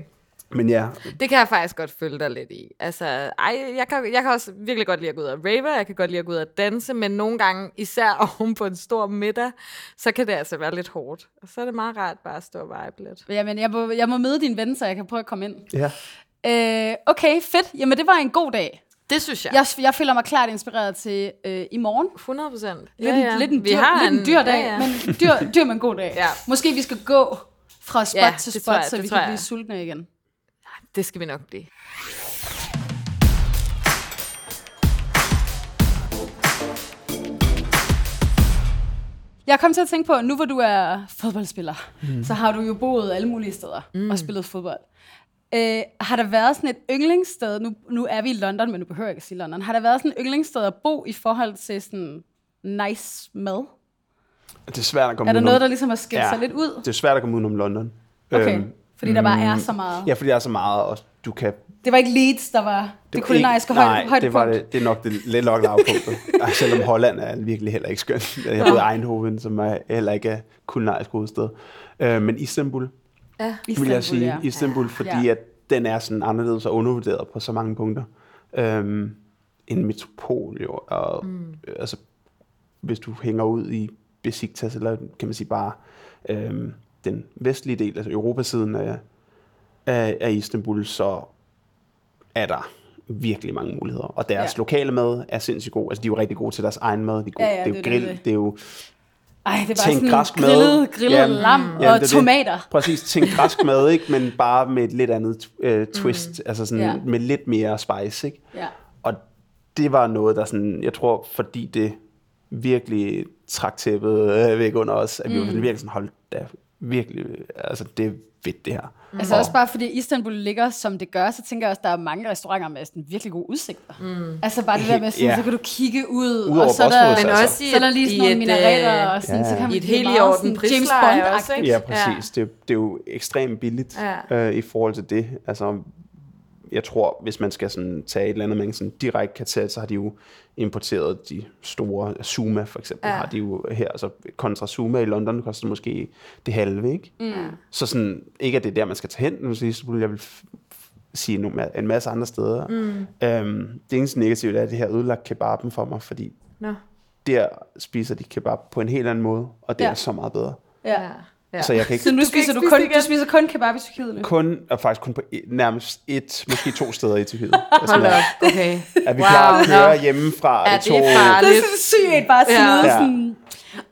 S5: Men ja,
S3: Det kan jeg faktisk godt følge dig lidt i. Altså, ej, jeg kan, jeg kan også virkelig godt lide at gå ud og rave, jeg kan godt lide at gå ud og danse, men nogle gange, især <laughs> oven på en stor middag, så kan det altså være lidt hårdt. Og så er det meget rart bare at stå og vibe lidt.
S4: Jamen, jeg må, jeg må møde din ven, så jeg kan prøve at komme ind.
S5: ja.
S4: Øh, okay, fedt. Jamen, det var en god dag.
S3: Det synes jeg.
S4: Jeg, jeg føler mig klart inspireret til øh, i morgen.
S3: 100 procent.
S4: Lidt, ja, ja. lidt, en, dyr, lidt en dyr dag, ja, ja. men dyr, dyr, men god dag.
S3: Ja.
S4: Måske vi skal gå fra spot
S3: Ja,
S4: ja, til
S3: det
S4: spot,
S3: tror jeg,
S4: jeg, så
S3: det
S4: vi
S3: tror
S4: kan
S3: jeg.
S4: blive sultne igen.
S3: Det skal vi nok blive.
S4: Jeg kom til at tænke på, at nu hvor du er fodboldspiller,
S5: Mhm.
S4: mm. så har du jo boet alle mulige steder mm. og spillet fodbold. Øh, har der været sådan et yndlingssted, nu, nu er vi i London, men du behøver ikke at sige London, har der været sådan et yndlingssted at bo i forhold til sådan nice mad?
S5: Det er svært at komme
S4: Er der
S5: udenom.
S4: noget, der ligesom har skilt
S5: Ja.
S4: ja. sig lidt ud?
S5: Det er svært at komme udenom London.
S4: Okay,
S5: Øhm,
S4: fordi der bare er så meget.
S5: ja, fordi der er så meget, og du kan... Det,
S4: Det var ikke Leeds, der var det, det
S5: var
S4: kulinariske
S5: ikke-
S4: høj,
S5: Nej, det, var
S4: højdepunkt.
S5: det, det er nok det lidt nok
S4: <laughs>
S5: lavpunktet. Ej, Selvom Holland er virkelig heller ikke skøn. Jeg har boet i Eindhoven, som er heller ikke er kulinarisk hovedsted. Øh, men Istanbul, Istanbul, vil jeg sige.
S4: ja.
S5: Istanbul, fordi
S4: Ja.
S5: at den er sådan anderledes og undervurderet på så mange punkter. Øhm, en metropol jo, og mm. altså, hvis du hænger ud i Besiktas, eller kan man sige bare øhm, den vestlige del, altså Europasiden af, af, af Istanbul, så er der virkelig mange muligheder. Og deres ja.
S4: Ja.
S5: lokale mad er sindssygt god. Altså, de er jo rigtig gode til deres egen mad. De er gode.
S4: Ja, ja,
S5: det er jo
S4: det er
S5: grill,
S4: det.
S5: det er jo
S4: Ej, det var
S5: tænk
S4: sådan
S5: græsk mad.
S4: grillet, grillet
S5: Jamen,
S4: lam
S5: jamen,
S4: og
S5: det er det.
S4: tomater.
S5: Præcis, tænk
S4: <laughs>
S5: græsk mad, ikke? men bare med et lidt andet øh, twist, mm. altså sådan,
S4: Ja.
S5: med lidt mere spice. Ikke?
S4: Ja.
S5: Og det var noget, der sådan, jeg tror, fordi det virkelig trak tæppet øh, væk under os, at vi var
S4: Mm.
S5: sådan virkelig sådan, hold da, virkelig, altså det er fedt det her. Mm.
S4: Altså også bare fordi Istanbul ligger, som det gør, så tænker jeg også, at der er mange restauranter med sådan virkelig gode udsigter. Mm. Altså bare det der med, sådan,
S5: Ja.
S4: så kan du kigge ud,
S5: Udover
S4: og så er der,
S5: Bosporus,
S4: men
S5: Men
S4: også,
S5: altså.
S4: så er der lige sådan nogle minareter,
S2: øh,
S4: og sådan,
S5: ja,
S4: så
S5: ja.
S4: kan man
S3: i et
S4: blive
S3: helt i
S4: meget
S3: orden
S4: sådan James
S3: prisleje også,
S4: Bond-agtigt.
S3: ikke?
S5: <laughs> Ja,
S3: Ja.
S5: præcis. Det, er- det er jo ekstremt billigt
S3: Ja.
S5: øh, i forhold til det. Altså, jeg tror, hvis man skal sådan tage et eller andet, man sådan direkte kan tage, så har de jo importeret de store Zuma for eksempel, ja. har de jo her, altså kontra Zuma i London koster måske det halve, ikke? Mm. Så sådan, ikke at det er der, man skal tage hen, men så skulle jeg vil f- f- sige nogle, en masse andre steder. Mm. Øhm, det eneste negative er, at det her ødelagt kebaben for mig, fordi
S3: Nå.
S5: der spiser de kebab på en helt anden måde, og det ja.
S4: Ja.
S5: er så meget bedre.
S4: Ja.
S3: Ja.
S5: Så jeg kan ikke
S4: Så nu spiser du,
S3: spise
S4: kun,
S3: det
S4: du
S3: igen.
S4: spiser kun kebab i Tyrkiet nu.
S5: kun, og faktisk kun på et, nærmest et, måske to steder i Tyrkiet. Altså,
S3: Hold
S5: er,
S3: op, okay.
S5: er vi klar at
S3: Wow,
S5: køre
S3: nå.
S5: hjemmefra
S3: Ja,
S5: i
S3: det
S5: to...
S3: er farligt.
S4: Det er sådan sygt bare at
S3: Ja.
S4: smide
S5: Ja.
S4: sådan,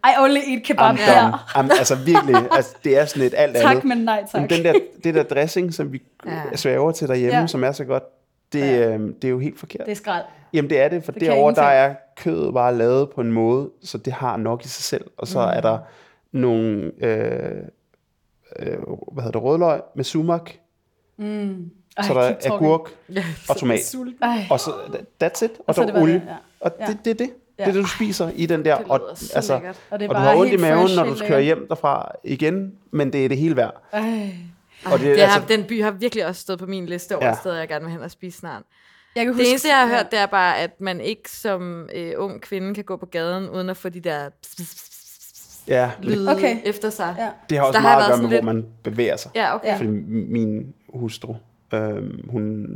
S4: I only eat kebab
S5: Am,
S4: her.
S5: dom. Am, altså virkelig, altså, det er sådan et alt
S4: Tak,
S5: andet.
S4: men nej tak.
S5: Men den der, det der dressing, som vi
S3: Ja.
S5: ja. sværger til derhjemme,
S4: Ja.
S5: ja. som er så godt, det,
S4: Ja.
S5: ja. øhm, det er jo helt forkert.
S4: Det er skrald.
S5: Jamen det er det, for det
S4: kan jeg
S5: derovre der er
S4: ingenting.
S5: kødet bare lavet på en måde, så det har nok i sig selv. Og så mm. er der nogle, øh, øh, hvad hedder det, rødløg med sumak,
S4: Ej,
S5: så der
S4: keep
S5: er
S4: talking.
S5: agurk og tomat.
S4: Ej.
S5: Og så, that's it.
S4: så
S5: Og, så
S4: er det
S5: der
S4: bare
S5: olie.
S4: det, ja.
S5: Og
S4: Ja.
S5: det er det, det,
S4: Ja.
S5: det, er det, du spiser i den der.
S3: lyder
S5: og,
S3: så lækkert.
S5: og,
S4: Og
S5: det
S4: det er
S5: og du
S4: bare
S5: har ondt i
S4: helt
S5: maven,
S4: fresh,
S5: når du
S4: helt
S5: kører
S4: lækkert.
S5: hjem derfra igen, men det er det hele værd.
S4: Ej.
S3: Ej,
S5: <laughs> Og det er
S3: det, det har,
S5: altså-
S3: den by har virkelig også stået på min liste over
S5: Ja.
S3: ja. steder, jeg gerne vil hen og spise snart.
S4: Jeg kan huske,
S3: Det eneste, jeg har
S4: ja.
S3: hørt, det er bare, at man ikke som øh, ung kvinde kan gå på gaden, uden at få de der pss, pss, pss,
S5: Ja, men det,
S3: lyde okay.
S4: Okay.
S3: efter sig.
S4: Ja.
S5: det har
S3: Så
S5: også
S3: der har
S5: meget at
S3: jeg
S5: gøre med,
S3: været
S5: hvor man bevæger sig.
S3: Ja, okay.
S4: Ja.
S5: Fordi min hustru, øh, hun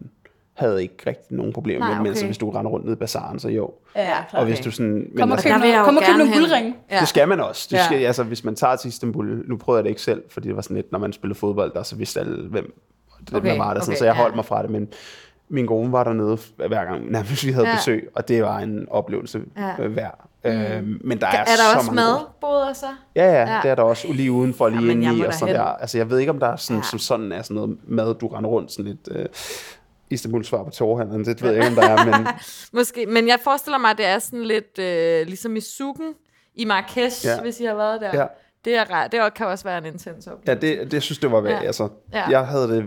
S5: havde ikke rigtig nogen problemer
S3: Nej,
S5: med det, men så
S3: okay.
S5: hvis du render rundt nede i bazaren, så jo.
S4: Ja,
S5: Og hvis du sådan... Men
S4: Kom og
S5: altså,
S4: køb
S3: Der vil jeg jo
S4: Kom og køb
S3: gerne
S4: nogle
S3: hen.
S4: guldringe.
S3: Ja.
S5: Det skal man også. Det
S3: Ja.
S5: skal, altså, hvis man tager til Istanbul, nu prøvede jeg det ikke selv, fordi det var sådan lidt, når man spillede fodbold, der, så vidste alle, hvem det
S3: Okay,
S5: okay, var der, sådan,
S3: okay,
S5: så jeg
S3: ja.
S5: holdt mig fra det, men min kone var dernede hver gang, nærmest vi havde
S3: Ja.
S5: ja. besøg, og det var en oplevelse
S3: Ja. Mm.
S5: ja. værd. Øhm, men der er,
S3: Er der
S5: så
S3: også
S5: mange gode-
S3: madboder så?
S5: Ja, ja,
S3: Ja.
S5: ja, det er der også lige udenfor, lige
S3: Jamen,
S5: ja,
S3: jeg
S5: inde
S3: må
S5: i og sådan
S3: derhen.
S5: der. Altså, jeg ved ikke, om der er sådan,
S3: Ja.
S5: ja. som sådan er sådan noget mad, du render rundt sådan lidt... Øh, Istanbul svar på tårhandlen, det ved jeg ikke, om der er,
S3: <laughs>
S5: men
S3: Måske, men jeg forestiller mig, at det er sådan lidt øh, ligesom i Sukken i Marrakesh, ja.
S5: Ja.
S3: hvis I har været der.
S5: Ja.
S3: Det, er, rart. det er- kan også være en intens oplevelse.
S5: Ja, det, det synes det var værre.
S3: Ja.
S5: Ja. Altså,
S3: Ja.
S5: ja. Jeg havde det,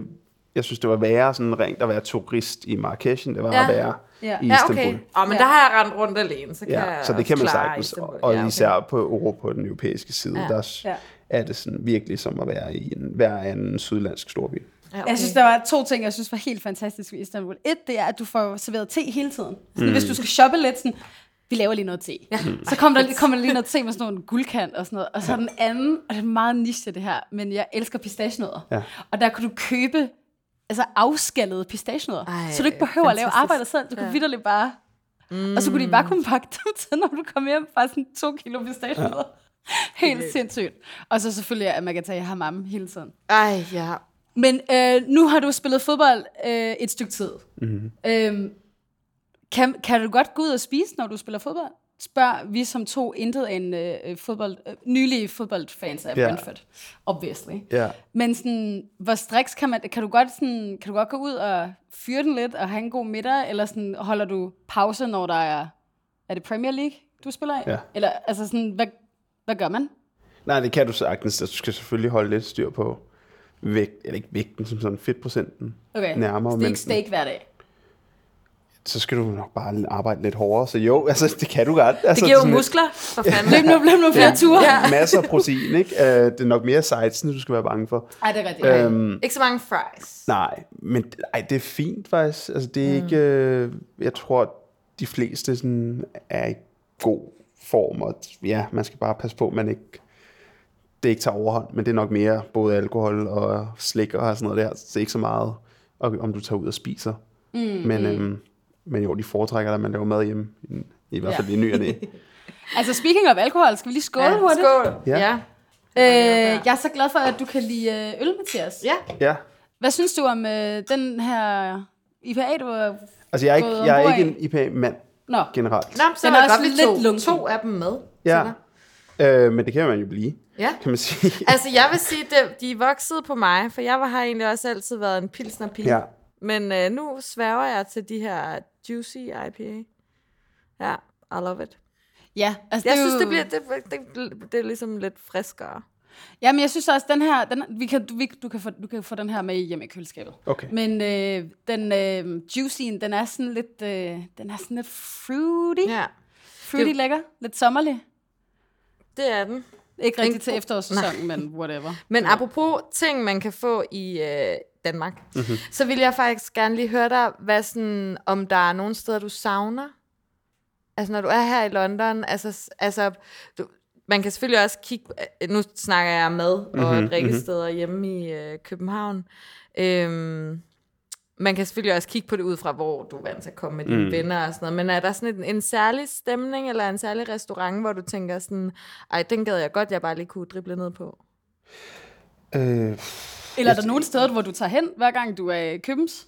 S5: jeg synes det var værre sådan rent at være turist i Marrakesh, end det var
S3: Ja.
S5: ja. at være
S4: Ja.
S5: ja. i
S3: Ja,
S5: Istanbul.
S3: okay. Oh, men
S4: Ja.
S3: der har jeg rendt rundt alene, så kan
S5: Ja,
S3: jeg
S5: så det
S3: også
S5: kan man
S3: klare
S5: sagtens.
S3: Istanbul.
S5: Og, og
S3: Ja, okay.
S5: især på Europa på den europæiske side,
S3: Ja.
S5: ja. der
S4: Ja.
S5: ja. er det sådan virkelig som at være i en, hver anden sydlandsk storby.
S3: Ja, okay.
S4: Jeg synes, der var to ting, jeg synes var helt fantastisk ved Istanbul. Et, det er, at du får serveret te hele tiden. Sådan, mm. Hvis du skal shoppe lidt, sådan, vi laver lige noget te. Ja. Så
S3: Mm.
S4: kom der, kom der lige noget te med sådan nogle guldkant og sådan noget. Og så den anden, og det er meget niche det her, men jeg elsker pistachenødder.
S5: Ja.
S4: Og der kunne du købe altså afskallede pistachenødder.
S3: Ej,
S4: Så du ikke behøver at lave
S3: fantastisk.
S4: arbejdet selv. Du kunne
S3: Ja.
S4: ja. vidderligt bare... Mm. Og så kunne de bare kunne pakke dem til, når du kom hjem, bare sådan to kilo pistachenødder. Ja. Helt
S3: Genialt.
S4: sindssygt. Og så selvfølgelig, at man kan tage hamam hele tiden.
S3: Ej, ja.
S4: Men øh, nu har du spillet fodbold øh, et stykke tid.
S5: Mhm.
S4: Mm-hmm. Øhm, kan, kan du godt gå ud og spise, når du spiller fodbold? Spørger vi som to intet en øh, fodbold, øh, nylige fodboldfans af
S5: Ja.
S4: yeah. Brentford, obviously.
S5: Ja.
S4: Men sådan, hvor striks kan man, kan du godt sådan, kan du godt gå ud og fyre den lidt og have en god middag, eller sådan, holder du pause, når der er, er det Premier League, du spiller i?
S5: Ja.
S4: Eller, altså sådan, hvad, hvad gør man?
S5: Nej, det kan du sagtens. Altså, Du skal selvfølgelig holde lidt styr på vægt, eller ikke vægten, som sådan fedtprocenten.
S4: Okay,
S5: Nærmere,
S4: så det er
S5: men-
S4: ikke steak hver dag.
S5: Så skal du nok bare arbejde lidt hårdere. Så jo, altså, det kan du godt. Altså,
S3: Det giver
S5: sådan
S3: jo
S5: lidt-
S3: muskler, for fanden.
S4: Løb nu, løb nu flere ture. Ja.
S5: <laughs> Masser af protein, ikke? Uh, det er nok mere sidesene, du skal være bange for.
S4: Ej, det er rigtigt.
S5: Okay. Øhm,
S3: Ikke så mange fries.
S5: Nej, men ej, det er fint faktisk. Altså, det er mm. ikke, øh, jeg tror, de fleste sådan, er i god form, og ja, man skal bare passe på, at man ikke, det ikke tager overhånd, men det er nok mere både alkohol og slik og sådan noget der, så det er ikke så meget, og, om du tager ud og spiser. Mm, men, øhm, men jo, de foretrækker, at man laver mad hjemme, i hvert
S4: Ja.
S5: fald ja. i ny og næ.
S4: Altså, speaking of alkohol, skal vi lige skåle ja, hurtigt?
S3: skål.
S5: Ja.
S3: Ja. ja.
S4: Øh, jeg er så glad for, at du kan lide øh, øl, Mathias.
S3: Ja.
S5: ja.
S4: Hvad synes du om øh, den her IPA, du har...
S5: Altså, jeg er ikke,
S4: Gået
S5: jeg er
S4: ombord
S5: ikke en IPA-mand
S4: Nå,
S5: generelt,
S3: Nå, så
S4: Den
S3: er
S4: er
S3: der
S4: også
S3: godt lidt
S4: lidt
S3: to,
S4: lunken.
S3: to af dem med.
S5: ja.
S3: Sådan.
S5: øh, men det kan man jo blive,
S3: Ja.
S5: kan man
S3: <laughs>
S5: sige.
S3: Altså, jeg vil sige, at de er vokset på mig, for jeg har egentlig også altid været en pilsner pige.
S5: Ja.
S3: Men øh, nu sværger jeg til de her juicy IPA. Ja, I love it.
S4: ja. Altså,
S3: Jeg
S4: er
S3: synes,
S4: jo-
S3: det bliver det, det, det er ligesom lidt friskere.
S4: Jamen, jeg synes også, den her... Den, vi kan, du, vi, du, kan få, du kan få den her med hjem i køleskabet.
S5: Okay.
S4: Men øh, den øh, juicyen, den er sådan lidt... Øh, den er sådan lidt fruity.
S3: Ja,
S4: Fruity
S3: Det-
S4: lækker. Lidt sommerlig.
S3: det er den.
S4: Ikke
S3: En
S4: rigtig til
S3: god-
S4: efterårssæsonen, men <laughs> whatever.
S3: Men apropos ting, man kan få i øh, Danmark, mm-hmm. så vil jeg faktisk gerne lige høre dig, hvad sådan, om der er nogle steder, du savner? Altså, når du er her i London, altså, s- altså du, man kan selvfølgelig også kigge, øh, nu snakker jeg med og mm-hmm. drikkesteder hjemme i øh, København. Øhm, man kan selvfølgelig også kigge på det ud fra, hvor du er vant til at komme med dine mm. venner og sådan noget, men er der sådan en, en særlig stemning eller en særlig restaurant, hvor du tænker sådan, ej, den gad jeg godt, jeg bare lige kunne drible ned på?
S5: Øh,
S4: Eller er der nogle steder, hvor du tager hen, hver gang du er i købens?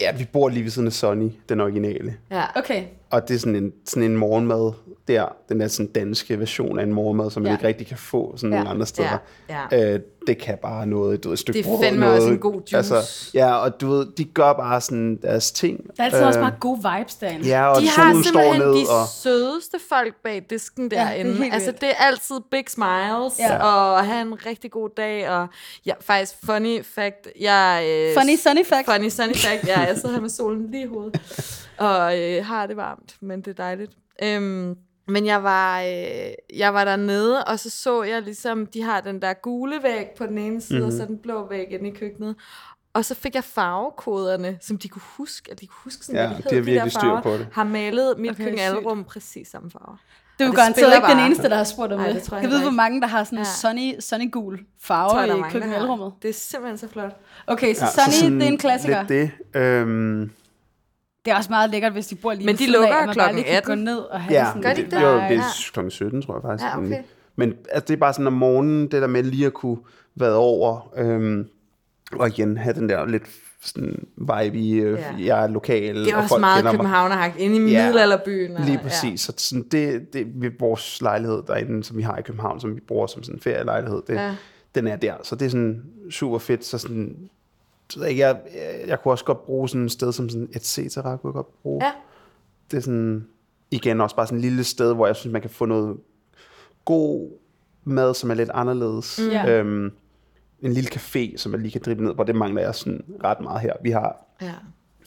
S5: Ja, vi bor lige ved siden af Sonny, den originale.
S3: Ja.
S4: Okay.
S5: Og det er sådan en, sådan en morgenmad der, den der sådan danske version af en morgenmad, som ja.
S4: Ja.
S5: man ikke rigtig kan få sådan ja. nogle andre steder.
S3: Ja,
S5: Ja. Øh, det kan bare noget, du ved, et stykke
S3: Det er
S5: brød,
S3: fandme
S5: noget, Altså,
S3: også en god juice.
S5: ja, og du ved, de gør bare sådan deres ting.
S4: Der er altid øh, også bare gode vibes derinde.
S5: Ja, og
S3: De har
S5: solen står
S3: simpelthen
S5: ned,
S3: de
S5: og
S3: sødeste folk bag disken
S4: det er
S3: derinde.
S4: helt
S3: altså,
S4: vildt.
S3: det er altid big smiles,
S4: Ja.
S3: ja. og have en rigtig god dag, og ja, faktisk funny fact, jeg... Øh,
S4: Funny sunny fact.
S3: Funny sunny fact, ja, jeg sidder her med solen lige i hovedet, og øh, har det varmt, men det er dejligt. Øhm, men jeg var, øh, jeg var dernede, og så så jeg ligesom, de har den der gule væg på den ene side,
S5: Mhm.
S3: mm-hmm. og så den blå væg inde i køkkenet. Og så fik jeg farvekoderne, som de kunne huske, at de kunne huske, sådan,
S5: Ja,
S3: hvad
S5: de har
S3: hed,
S5: virkelig
S3: der
S5: styr
S3: farver,
S5: på det.
S3: Har malet mit
S4: Okay,
S3: okay, køkkenalrum
S4: sygt.
S3: præcis samme farve.
S4: Det er
S3: Og
S4: jo
S3: det
S4: garanteret
S3: spiller
S4: ikke den
S3: bare.
S4: eneste, der har spurgt om
S3: Nej,
S4: det.
S3: det tror jeg
S4: jeg ved,
S3: heller
S4: hvor
S3: ikke.
S4: mange, der har sådan en
S3: Ja.
S4: sunny, sunny gul
S3: Tror jeg, der er
S4: farve i
S3: mange, der har.
S4: køkkenalrummet.
S3: Det er simpelthen så flot.
S4: Okay, så
S5: ja,
S4: sunny,
S5: så sådan
S4: det er en klassiker.
S5: Lidt
S4: Det.
S5: det. Øhm,
S4: det er også meget lækkert, hvis de bor lige
S3: Men
S4: ved
S3: de
S4: siden af,
S3: lukker
S4: at man bare lige
S3: klokken
S4: kan gå
S3: 18.
S4: ned og have
S5: ja,
S4: sådan
S3: Gør de
S5: det,
S3: ikke det?
S5: Jo,
S4: lidt-
S5: det
S3: Ja.
S5: er kl. 17, tror jeg faktisk.
S3: Ja, okay.
S5: Men altså, det er bare sådan om morgenen, det der med lige at kunne være over, øhm, og igen have den der lidt sådan vibe i, øh,
S3: Ja.
S5: jeg er lokal,
S3: Det er
S5: og
S3: også
S5: folk
S3: meget
S5: kender mig.
S3: københavnerhagt inde i
S5: Ja,
S3: middelalderbyen. og-
S5: Lige
S3: ja.
S5: præcis. Ja. Så sådan, det, det ved vores lejlighed derinde, som vi har i København, som vi bruger som sådan en ferielejlighed, det, ja.
S3: Ja.
S5: den er der. Så det er sådan super fedt. Så sådan, det ved jeg, ikke, jeg, jeg kunne også godt bruge sådan et sted som sådan et cetera, kunne jeg godt bruge.
S3: Ja.
S5: Det er sådan, igen også bare sådan et lille sted, hvor jeg synes, man kan få noget god mad, som er lidt anderledes.
S4: Mm. Ja.
S5: Øhm, en lille café, som man lige kan drippe ned på. Det mangler jeg sådan ret meget her. Vi har
S3: Ja.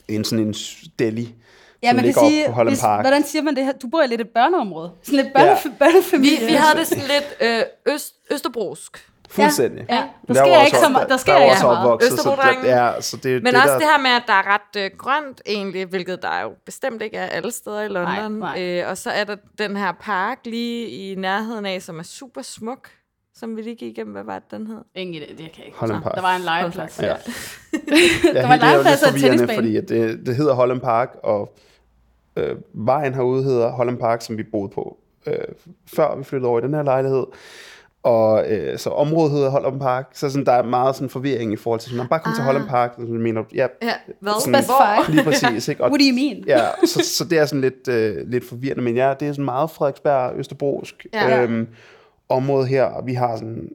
S5: en sådan en deli,
S4: Ja,
S5: øh,
S4: man
S5: som
S4: kan
S5: ligger
S4: sige,
S5: oppe på Holland
S4: hvis,
S5: Park.
S4: hvordan siger man det her? Du bor i lidt et børneområde. Sådan lidt børne,
S5: Ja.
S4: ja. børnefamilie.
S3: Vi, vi havde det sådan lidt øh, øst, østerbrosk.
S5: Fuldstændig.
S4: Ja, ja. Der
S5: er jo
S4: sker
S5: også
S4: ikke så
S5: op-
S4: meget- der sker
S5: er jo
S4: ikke
S5: også
S4: så meget.
S5: opvokset, så
S3: Østerbrodrengen.
S5: der- ja, så det, er
S3: Men
S5: det
S3: det også
S5: der,
S3: der... det her med, at der er ret øh, grønt egentlig, hvilket der jo bestemt ikke er alle steder i London.
S4: nej.
S3: Øh, og så er der den her park lige i nærheden af, som er super smuk. som vi lige gik igennem. Hvad var det, den hed?
S4: Ingen idé, det kan jeg ikke.
S5: Holland
S4: Nå,
S5: Park.
S4: Der var en legeplads.
S5: Ja.
S4: Ja.
S5: Ja,
S4: Der var
S5: helt- det er jo
S4: legeplads
S5: lidt
S4: og en
S5: forvirrende,
S4: tennisbane.
S5: Fordi at det, det hedder Holland Park, og øh, vejen herude hedder Holland Park, som vi boede på, øh, før vi flyttede over i den her lejlighed. Og øh, så området hedder Holland Park, så sådan, der er meget sådan forvirring i forhold til, sådan, "Nå, bare kom ah. til Holland Park, og så mener du, ja,
S3: Ja, hvad?
S5: Sådan-
S4: Specify.
S5: lige præcis. Ikke? Og,
S4: What do you mean?
S5: ja, så, så det er sådan lidt, øh, lidt forvirrende, men ja, det er sådan meget Frederiksberg, Østerbrosk
S3: Ja.
S5: ja. øhm, område her, og vi har sådan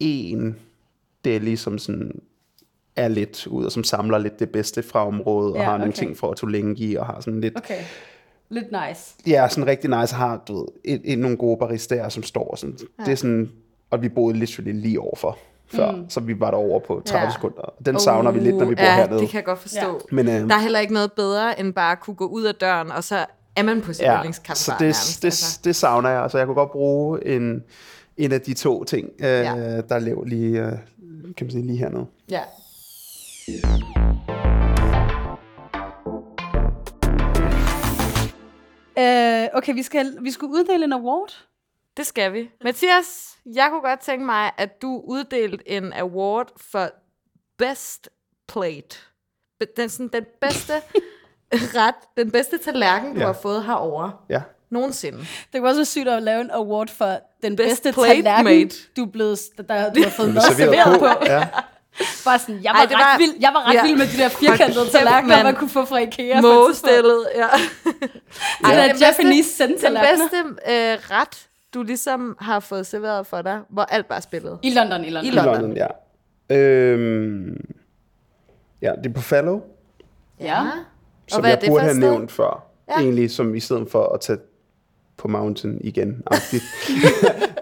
S5: en deli, som sådan er lidt ud, og som samler lidt det bedste fra området, og
S4: Ja,
S5: har nogle
S4: okay.
S5: ting fra Ottolenghi, og har sådan lidt,
S4: Okay. Lidt nice.
S5: ja, sådan rigtig nice, har du ved, et, et, nogle gode baristaer, som står og sådan, ja. det er sådan, og vi boede literally lige overfor, før, mm. så vi var derovre på 30
S3: Ja. Uh,
S5: ja. sekunder. Den savner vi lidt, når vi bor
S3: ja,
S5: hernede.
S3: det kan jeg godt forstå. Ja.
S5: Men, øh,
S3: Der er heller ikke noget bedre, end bare at kunne gå ud af døren, og så er man på sin ja, yndlingskamp.
S5: så det, det, altså. det savner jeg. Altså, jeg kunne godt bruge en, en af de to ting, øh,
S3: Ja.
S5: ja. der lev lige, øh, kan man sige, lige hernede.
S3: Ja.
S4: Øh, okay, vi skal, vi skulle uddele en award.
S3: Det skal vi. Mathias, jeg kunne godt tænke mig, at du uddelte en award for Best Plate. Be- Den, sådan, den
S5: <laughs>
S3: bedste ret, den bedste tallerken, du ja.
S5: Ja.
S3: har fået herovre.
S5: Ja.
S3: Nogensinde.
S4: Det var også sygt at lave en award for den
S3: Best
S4: bedste
S3: plate
S4: tallerken,
S3: made.
S4: du, er blevet, der, du har fået
S5: Men
S4: mad
S5: serveret
S4: serveret på.
S3: <laughs>
S5: Ja.
S4: Bare sådan, jeg
S3: Ej,
S4: var,
S3: det
S4: Ej, ret,
S3: var-
S4: var... Vild, jeg var ret
S3: Ja.
S4: ja. vild med de der firkantede
S3: Hold kæft,
S4: tallerkener,
S3: mand.
S4: man kunne få fra Ikea. på et tidspunkt.
S3: Mågestillet, ja.
S4: Det
S3: Ej,
S4: der
S3: den bedste-
S4: Japanese
S3: Den
S4: sendtallerkener.
S3: bedste øh, ret, du ligesom har fået serveret for dig, hvor alt bare er spillet.
S4: I London, i London.
S3: I
S5: I London, ja. Øhm, ja, det er på Fallow,
S4: Ja.
S5: som
S3: hvad er
S5: jeg
S3: det for
S5: burde
S3: et
S5: have
S3: sted?
S5: nævnt før.
S3: Ja.
S5: Ja. Egentlig som i stedet for at tage på Mountain igen,
S3: <laughs>
S5: agtigt,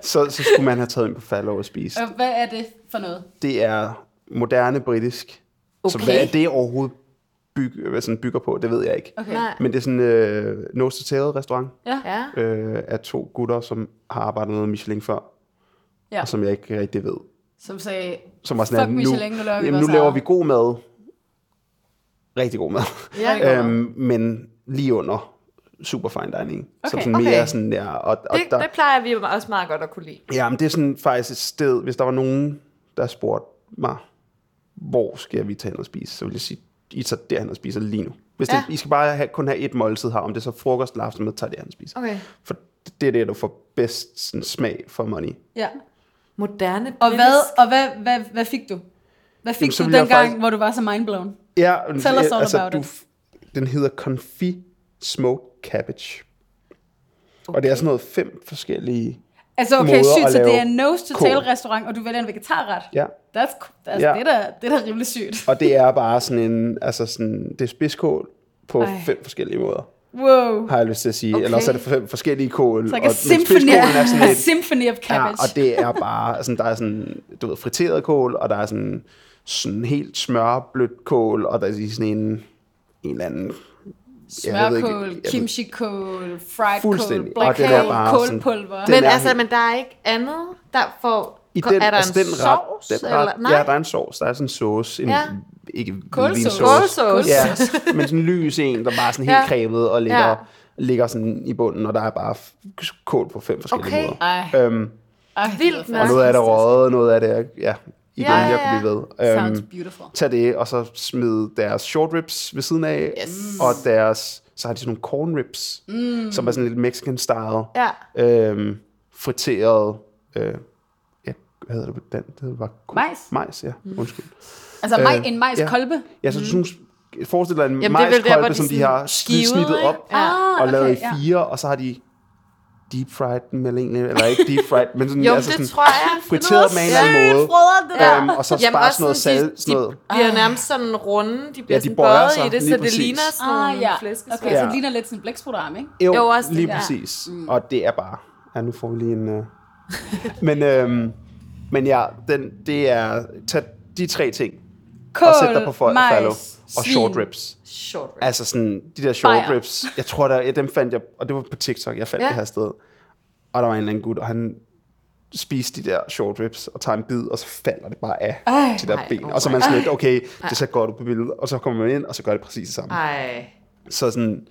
S5: så, så skulle man have taget ind på Fallow og spist.
S3: Øh.
S4: Og hvad er det for noget?
S5: det er moderne britisk. Okay. Så hvad er det overhovedet byg, hvad sådan bygger på, det ved jeg ikke.
S4: Okay.
S3: Nej.
S5: Men det er sådan en øh, nose to tail restaurant
S4: Ja.
S3: Ja.
S5: øh, af to gutter, som har arbejdet med noget Michelin før,
S4: ja.
S5: og som jeg ikke rigtig ved.
S4: Som sagde,
S5: Som var
S4: fuck
S5: sådan, at
S4: Michelin, nu laver vi
S5: jamen, nu
S4: vores
S5: laver
S4: eget.
S5: vi god mad. Rigtig god mad.
S4: Ja, det går
S5: øhm, men lige under super fine dining. Okay. Så
S4: Okay.
S5: sådan mere
S3: Okay.
S5: sådan der. Og, og
S3: Det,
S5: der,
S3: det plejer vi også meget godt at kunne lide.
S5: Jamen, det er sådan faktisk et sted, hvis der var nogen, der spurgte mig, hvor skal vi tage hen og spise, så ville jeg sige, I tager derhen og spiser lige nu. Hvis det,
S3: Ja.
S5: I skal bare have, kun have et måltid her, om det er så frokost eller aftensmad, tager derhen og spiser.
S3: Okay.
S5: For det er det, du får bedst sådan, smag for money.
S4: Ja.
S3: Moderne
S4: Og, hvad, og hvad, hvad, hvad fik du? Hvad fik
S5: Jamen, så
S4: Jamen,
S5: ville
S4: du
S5: jeg
S4: dengang, faktisk...
S5: faktisk-
S4: hvor du var så mindblown?
S5: Ja,
S4: Tell us all about it.
S5: altså, Den hedder Confi Smoked Cabbage. Okay. Og det er sådan noget fem forskellige...
S4: Altså okay,
S5: Måder
S4: sygt,
S5: at
S4: så det
S5: lave
S4: er en nose-to-tail
S5: kål.
S4: restaurant, og du vælger en vegetarret?
S5: Ja.
S4: That's, altså,
S5: Ja.
S4: det, er da, det er da rimelig sygt.
S5: Og det er bare sådan en... Altså sådan, det er spidskål på
S4: Ej.
S5: Ej. fem forskellige måder.
S4: Wow.
S5: har jeg lyst til at sige. Okay. Eller også er det for- forskellige kål.
S4: Så like
S5: og-
S4: a
S5: men
S4: symphony,
S5: spidskålen er
S4: <laughs>
S5: sådan
S4: a
S5: lidt,
S4: symphony of
S5: ja,
S4: cabbage.
S5: og det er bare, altså, der er sådan, du ved, friteret kål, og der er sådan, sådan helt smørblødt kål, og der er sådan en, en eller anden jeg ved ikke, jeg
S4: Smørkål,
S5: ved-
S4: kimchi-kål, fried kål,
S5: Fuldstændig. Og
S4: black
S5: den
S3: er
S4: kål,
S5: bare sådan-
S4: kålpulver.
S5: Den
S3: Men
S5: er
S3: altså,
S5: helt-
S3: men der er ikke andet, der får...
S5: i den,
S3: er der
S5: altså,
S3: en
S5: den
S3: sovs?
S5: ret, den
S3: eller?
S5: ret,
S3: Nej.
S5: Ja, der er en sovs. Der er sådan en sauce. En,
S3: Ja.
S5: ja. Ikke
S4: Kålsauce.
S5: sauce.
S3: Kålsauce.
S5: Ja, men sådan en lys en, der bare er sådan helt
S3: Ja.
S5: ja. cremet og ligger,
S3: Ja.
S5: ja. ligger sådan i bunden, og der er bare f- kål på fem forskellige
S3: Okay.
S5: måder.
S4: Ej,
S5: Øhm,
S4: ej, det
S3: Vildt
S4: lyder
S3: nok.
S5: og noget af det er røget, noget af det er, ja, igen,
S3: Ja,
S5: ja,
S3: ja,
S5: ja. jeg kunne blive ved.
S4: fantastisk.
S5: Øhm,
S4: Sounds beautiful.
S5: tag det, og så smid deres short ribs ved siden af,
S3: Yes.
S5: og deres, så har de sådan nogle corn ribs, mm. som er sådan lidt mexican style,
S3: Ja.
S5: øhm, friteret, øh, ja, hvad hedder det på den? Det hedder bare ko-
S4: Majs?
S5: Majs, ja,
S3: Mm.
S5: undskyld.
S4: Altså
S5: Øh,
S4: maj, en majs
S5: ja.
S4: kolbe.
S5: Ja, så sådan nogle, forestil dig en
S3: det er vel der,
S5: majskolbe,
S3: hvor de
S5: som de
S3: sådan
S5: har
S3: skivede,
S5: skivet, snittet
S3: ikke?
S5: op,
S3: Ja.
S4: Ah,
S5: og lavet i
S4: ja.
S5: fire, og så har de deep fried dem, eller, egentlig, eller ikke deep fried, men sådan,
S3: Jo,
S5: altså
S3: det
S5: sådan,
S3: tror jeg.
S5: friteret med en eller anden måde.
S3: Ja.
S5: Øhm, og så
S3: Jamen,
S5: bare
S3: også
S5: sådan noget
S3: sådan, de-
S5: salt, sådan noget.
S3: De
S4: Ah.
S3: bliver nærmest sådan runde, de bliver
S5: Ja, de
S3: sådan
S5: bøjer
S3: bøjet
S5: sig,
S3: i det, så
S5: lige
S3: det
S5: præcis.
S3: ligner sådan
S4: Ah,
S3: nogle
S4: ja.
S3: flæskesvær.
S4: Okay, så det ligner lidt sådan en blæksprutarm, ikke?
S5: Jo,
S3: Jo, også det
S5: lige
S3: der.
S5: præcis. Og det er bare... Ja, nu får vi lige en... Uh... men, øhm, men ja, den, det er... Tag de tre ting,
S4: Kål,
S5: og sæt dig på folk, fallow,
S4: majs,
S5: og short ribs.
S3: Short rib.
S5: Altså sådan, de der short
S4: Bajer.
S5: ribs, jeg tror, der, ja, dem fandt jeg, og det var på TikTok, jeg fandt
S3: Ja.
S5: ja. det her sted. Og der var en eller anden gut, og han spiste de der short ribs, og tager en bid, og så falder det bare af
S4: Ej,
S5: de der
S3: ej,
S5: ben.
S3: oh
S5: Og så er
S3: my
S5: man sådan lidt, okay, det ser godt ud på billedet, og så kommer man ind, og så gør det præcis det samme.
S3: Ej.
S5: Så sådan,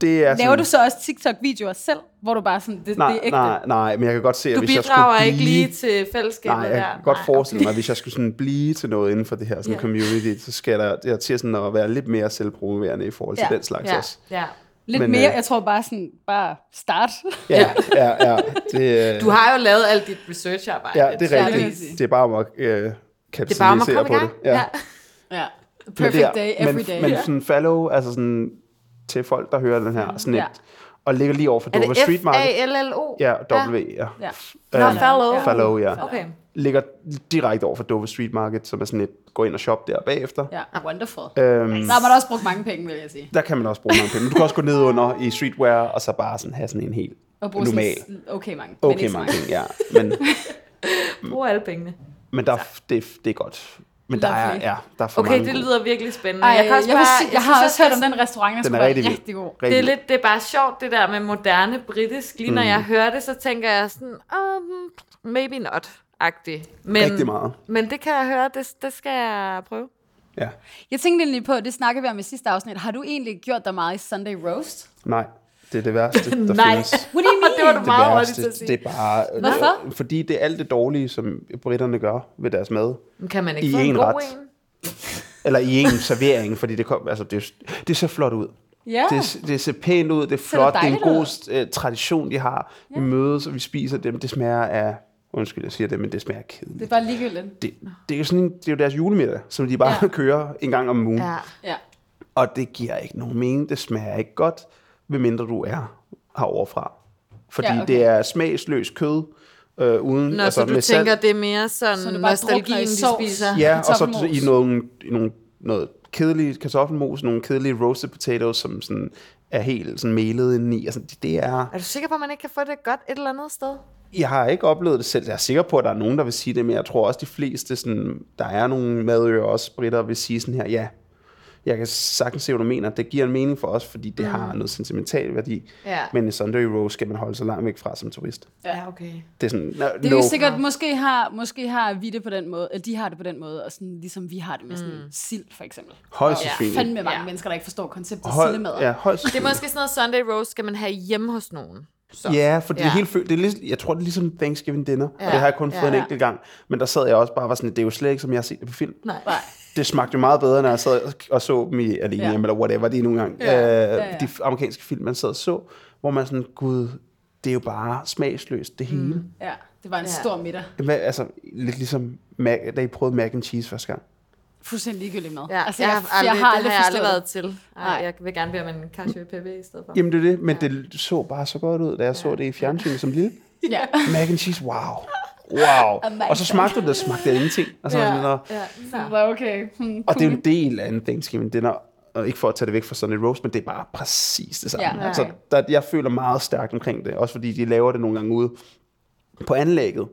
S5: det er
S4: Laver
S5: sådan,
S4: du så også TikTok-videoer selv, hvor du bare sådan, det, det er
S5: Nej,
S4: ægte?
S5: nej, nej, men jeg kan godt se, at
S3: Du
S5: hvis jeg
S3: bidrager
S5: skulle
S3: ikke
S5: blive,
S3: lige til fællesskabet
S5: Nej,
S3: der.
S5: jeg kan godt
S3: Nej,
S5: forestille mig, at hvis jeg skulle sådan blive til noget inden for det her sådan
S3: Ja.
S5: community, så skal der, jeg til sådan at være lidt mere selvpromoverende i forhold til
S4: Ja.
S5: den slags
S3: Ja,
S5: også.
S3: ja.
S4: Lidt
S5: Men,
S4: men, mere,
S5: øh,
S4: jeg tror bare sådan, bare start. <laughs>
S5: Ja, ja, ja. Det, øh,
S3: Du har jo lavet alt dit researcharbejde.
S5: ja, det
S3: så
S5: er
S4: det kan man
S5: rigtigt.
S4: sige.
S5: Det er bare om at øh,
S3: Det er bare om at
S5: kapitalisere
S3: komme i
S5: på det.
S3: gang. Ja.
S4: ja.
S5: Men
S4: Perfect
S5: det er-
S4: day,
S5: men,
S4: every day.
S5: Men
S4: ja.
S5: sådan follow, altså sådan til folk, der hører den her, sådan
S4: Ja.
S5: et, og ligger lige over for
S3: Mm, Er det
S5: Dover Street Market.
S3: F-A-L-L-O?
S5: Ja, W, E, ja.
S4: Ja.
S3: Nå,
S5: Øhm,
S3: follow.
S5: Follow, ja.
S3: Okay.
S5: Ligger direkte over for Dover Street Market, som er sådan et, gå ind og shop der bagefter.
S4: ja, Ah, wonderful.
S5: Øhm,
S4: Der har man også brugt mange penge, vil jeg sige.
S5: Der kan man også bruge mange penge. Men Du kan også gå ned under i streetwear, og så bare sådan have sådan en helt
S4: Og bruge
S5: normal.
S4: sådan, okay mange. men
S5: Okay
S4: ikke så
S5: mange penge, ja. Men,
S3: Brug alle pengene.
S5: men der, det, det er godt. Men der er,
S4: Lovely.
S5: ja, der er for
S3: Okay,
S5: mange
S3: det
S5: gode.
S3: lyder virkelig spændende.
S4: Ej, jeg, kan også Øh, jeg, bare,
S3: bare-
S4: jeg, jeg har
S3: synes
S4: også hørt om den restaurant, der
S5: Den
S4: skulle
S5: er
S4: være
S5: rigtig
S4: rigtig,
S5: vild.
S4: god.
S3: Det er,
S5: Rigtig-
S3: lidt, det er bare sjovt, det der med moderne britisk. Lige
S5: Mm.
S3: når jeg hører det, så tænker jeg sådan, um, maybe not agtig men,
S5: Rigtig meget.
S3: Men det kan jeg høre, det, det skal jeg prøve. <laughs>
S5: Ja.
S4: Jeg tænkte egentlig på, det snakkede vi om i sidste afsnit. Har du egentlig gjort dig meget i Sunday Roast?
S5: Nej, det er
S3: <laughs>
S5: det værste, der
S3: Nej.
S5: findes. Det
S4: What do you mean?
S3: <laughs> det var du meget hurtigt til at
S5: værste,
S3: sige.
S5: det er bare...
S4: Hvorfor?
S5: Øh, Fordi det er alt det dårlige, som britterne gør ved deres mad.
S3: Men Kan man ikke
S5: I
S3: få en
S5: en
S3: god
S5: ret.
S3: en?
S5: Eller i en servering, fordi det, kom, altså, det, er- det ser flot ud.
S4: Ja.
S5: Det, det ser pænt ud, det er
S4: Ser det
S5: flot, det er en
S4: dejligt ud?
S5: god øh, tradition, de har. Vi mødes, og vi spiser dem. Det smager af... Undskyld, jeg siger det, men det smager af
S4: Det
S5: kedeligt.
S4: er bare ligegyldigt.
S5: Det, det, er jo sådan en, det er jo deres julemiddag, som de bare
S4: Ja.
S5: ja. <laughs> kører en gang om ugen.
S3: Ja.
S5: Ja.
S4: Ja.
S5: Og det giver ikke nogen mening. Det smager ikke godt, medmindre du er heroverfra. Fordi
S4: Ja,
S5: ja,
S4: okay.
S5: okay. det er smagsløs kød, øh, uden...
S3: Nå, altså, så du
S5: med salt.
S3: tænker, det er mere sådan
S4: Så
S3: så
S4: du bare drukner i
S3: nostalgien, de
S4: sovs.
S3: spiser?
S5: Ja, og så
S4: Kartoffelmos.
S5: i nogle, i nogle, noget kedelige kartoffelmos, nogle kedelige roasted potatoes, som sådan er helt sådan melet indeni. Altså, det, det er,
S3: Er du sikker på, at man ikke kan få det godt et eller andet sted?
S5: jeg har ikke oplevet det selv. Jeg er sikker på, at der er nogen, der vil sige det, men jeg tror også, de fleste, sådan, der er nogle madøer også, britter, vil sige sådan her, ja, jeg kan sagtens se, hvad du mener. Det giver en mening for os, fordi det mm. har noget sentimental værdi.
S3: Ja.
S5: Men en Sunday roast skal man holde sig langt væk fra som turist.
S3: Ja, okay.
S5: Det er sådan, no,
S4: Det er
S5: no.
S4: jo sikkert, måske har, måske har vi det på den måde, eller de har det på den måde, og sådan, ligesom vi har det med sådan mm. sild, for eksempel.
S5: Højst
S4: Og
S5: sandsynligt.
S4: fandme mange
S3: Ja.
S4: mennesker, der ikke forstår konceptet
S5: Høj,
S4: sildemad.
S5: ja, højst
S3: Det er måske sådan noget Sunday roast, skal man have hjemme hos nogen. Så.
S5: Ja, for det
S3: Ja.
S5: er helt følt. Det er ligesom, jeg tror, det er ligesom Thanksgiving dinner. Ja.
S3: Ja.
S5: Og det har jeg kun fået
S3: Ja.
S5: en enkelt gang. Men der sad jeg også bare og var sådan, det er jo slet ikke, som jeg har set det på film.
S3: Nej.
S4: Nej.
S5: Det smagte jo meget bedre, når jeg sad og- og så dem i alene
S4: Ja.
S5: ja. hjemme, eller whatever det er nogle gange.
S4: Ja.
S5: Øh,
S4: Ja, ja.
S5: De f- amerikanske film, man sad og så, hvor man sådan, gud, det er jo bare smagsløst, det hele. Mm.
S4: Ja, det var en
S3: Ja.
S4: stor middag.
S5: Hvad, altså, lidt ligesom, mac, da I prøvede mac and cheese første gang.
S4: Fuldstændig ligegyldig mad.
S3: Ja, altså, jeg, jeg, har aldrig, jeg har aldrig, det har jeg aldrig været til. Ej,
S4: Nej.
S3: jeg vil gerne bede om en cashew pepe i stedet for.
S5: Jamen det er det, men ja. det så bare så godt ud, da jeg ja. så det i fjernsynet som lille.
S4: det. <laughs> Ja.
S5: Mac and cheese, wow. Wow.
S4: Amazing.
S5: Og så smagte det, og smagte af ingenting. Og så ja. sådan, og,
S3: ja.
S4: Det var okay. Hmm,
S5: Og det er jo
S4: cool.
S5: en del af en Thanksgiving dinner, og ikke for at tage det væk fra Sunday roast, men det er bare præcis det samme.
S4: Ja.
S5: Ja, altså, der, jeg føler meget stærkt omkring det, også fordi de laver det nogle gange ude på anlægget.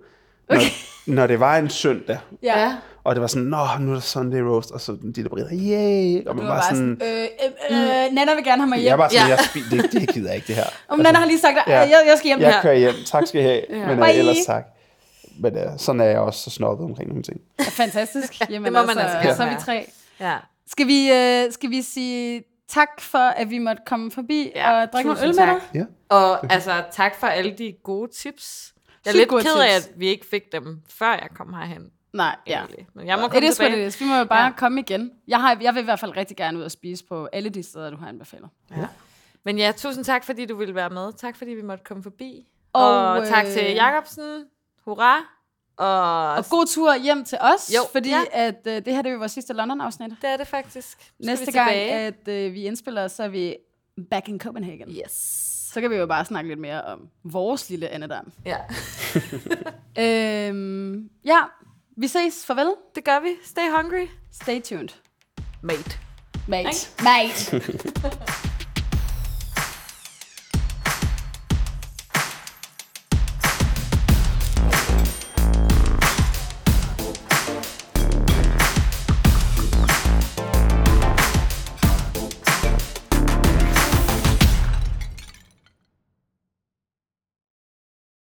S5: Når, okay. <laughs> når det var en søndag,
S4: Ja.
S3: Ja.
S5: og det var sådan, nå, nu er der Sunday roast, og så de der britter, yay, og man
S4: Du
S5: var
S4: var bare sådan,
S5: sådan,
S4: øh, øh, øh, Nana vil gerne have mig hjem.
S5: jeg var sådan,
S3: Ja.
S5: jeg spi- det, det gider jeg ikke det
S4: <laughs>
S5: her.
S4: Om Nana har lige sagt, at
S5: Ja.
S4: jeg, jeg skal hjem
S5: jeg
S4: her.
S5: kører hjem, tak skal I
S4: <laughs>
S5: have, ja. men uh,
S4: Bye.
S5: ellers tak. Men uh, sådan er jeg også så snobbet omkring nogle ting.
S3: <laughs>
S4: Fantastisk. Jamen,
S3: det må man altså
S4: altså,
S3: gerne
S4: Så er vi
S3: være.
S4: tre.
S3: ja.
S4: Skal vi, øh, skal vi sige tak for, at vi måtte komme forbi
S3: Ja,
S4: og drikke nogle øl
S3: tusind
S4: med dig?
S3: tak.
S5: Ja.
S3: Og altså, tak for alle de gode tips. Jeg er
S4: Sygt
S3: lidt
S4: gode
S3: ked af,
S4: tips.
S3: at vi ikke fik dem, før jeg kom herhen.
S4: Nej, ja.
S3: egentlig. Men jeg må
S4: Det
S3: komme
S4: er
S3: tilbage.
S4: det, det Vi må jo bare
S3: Ja.
S4: ja. komme igen. Jeg, har, jeg vil i hvert fald rigtig gerne ud og spise på alle de steder, du har anbefalet.
S3: Ja. Men ja, tusind tak, fordi du ville være med. Tak, fordi vi måtte komme forbi. Og,
S4: Og,
S3: og tak
S4: øh,
S3: til Jacobsen. Hurra. Og,
S4: Og god tur hjem til os,
S3: Jo,
S4: fordi
S3: ja.
S4: at, øh, det her det er jo vores sidste London-afsnit.
S3: det er det faktisk. Nu skal vi
S4: Næste gang,
S3: tilbage.
S4: at øh, vi indspiller, så er vi back in Copenhagen.
S3: Yes.
S4: Så kan vi jo bare snakke lidt mere om vores lille andedam.
S3: Ja,
S4: Øhm, ja, vi ses. Farvel.
S3: det gør vi. Stay hungry,
S4: Stay tuned.
S3: mate.
S4: Mate. Mate.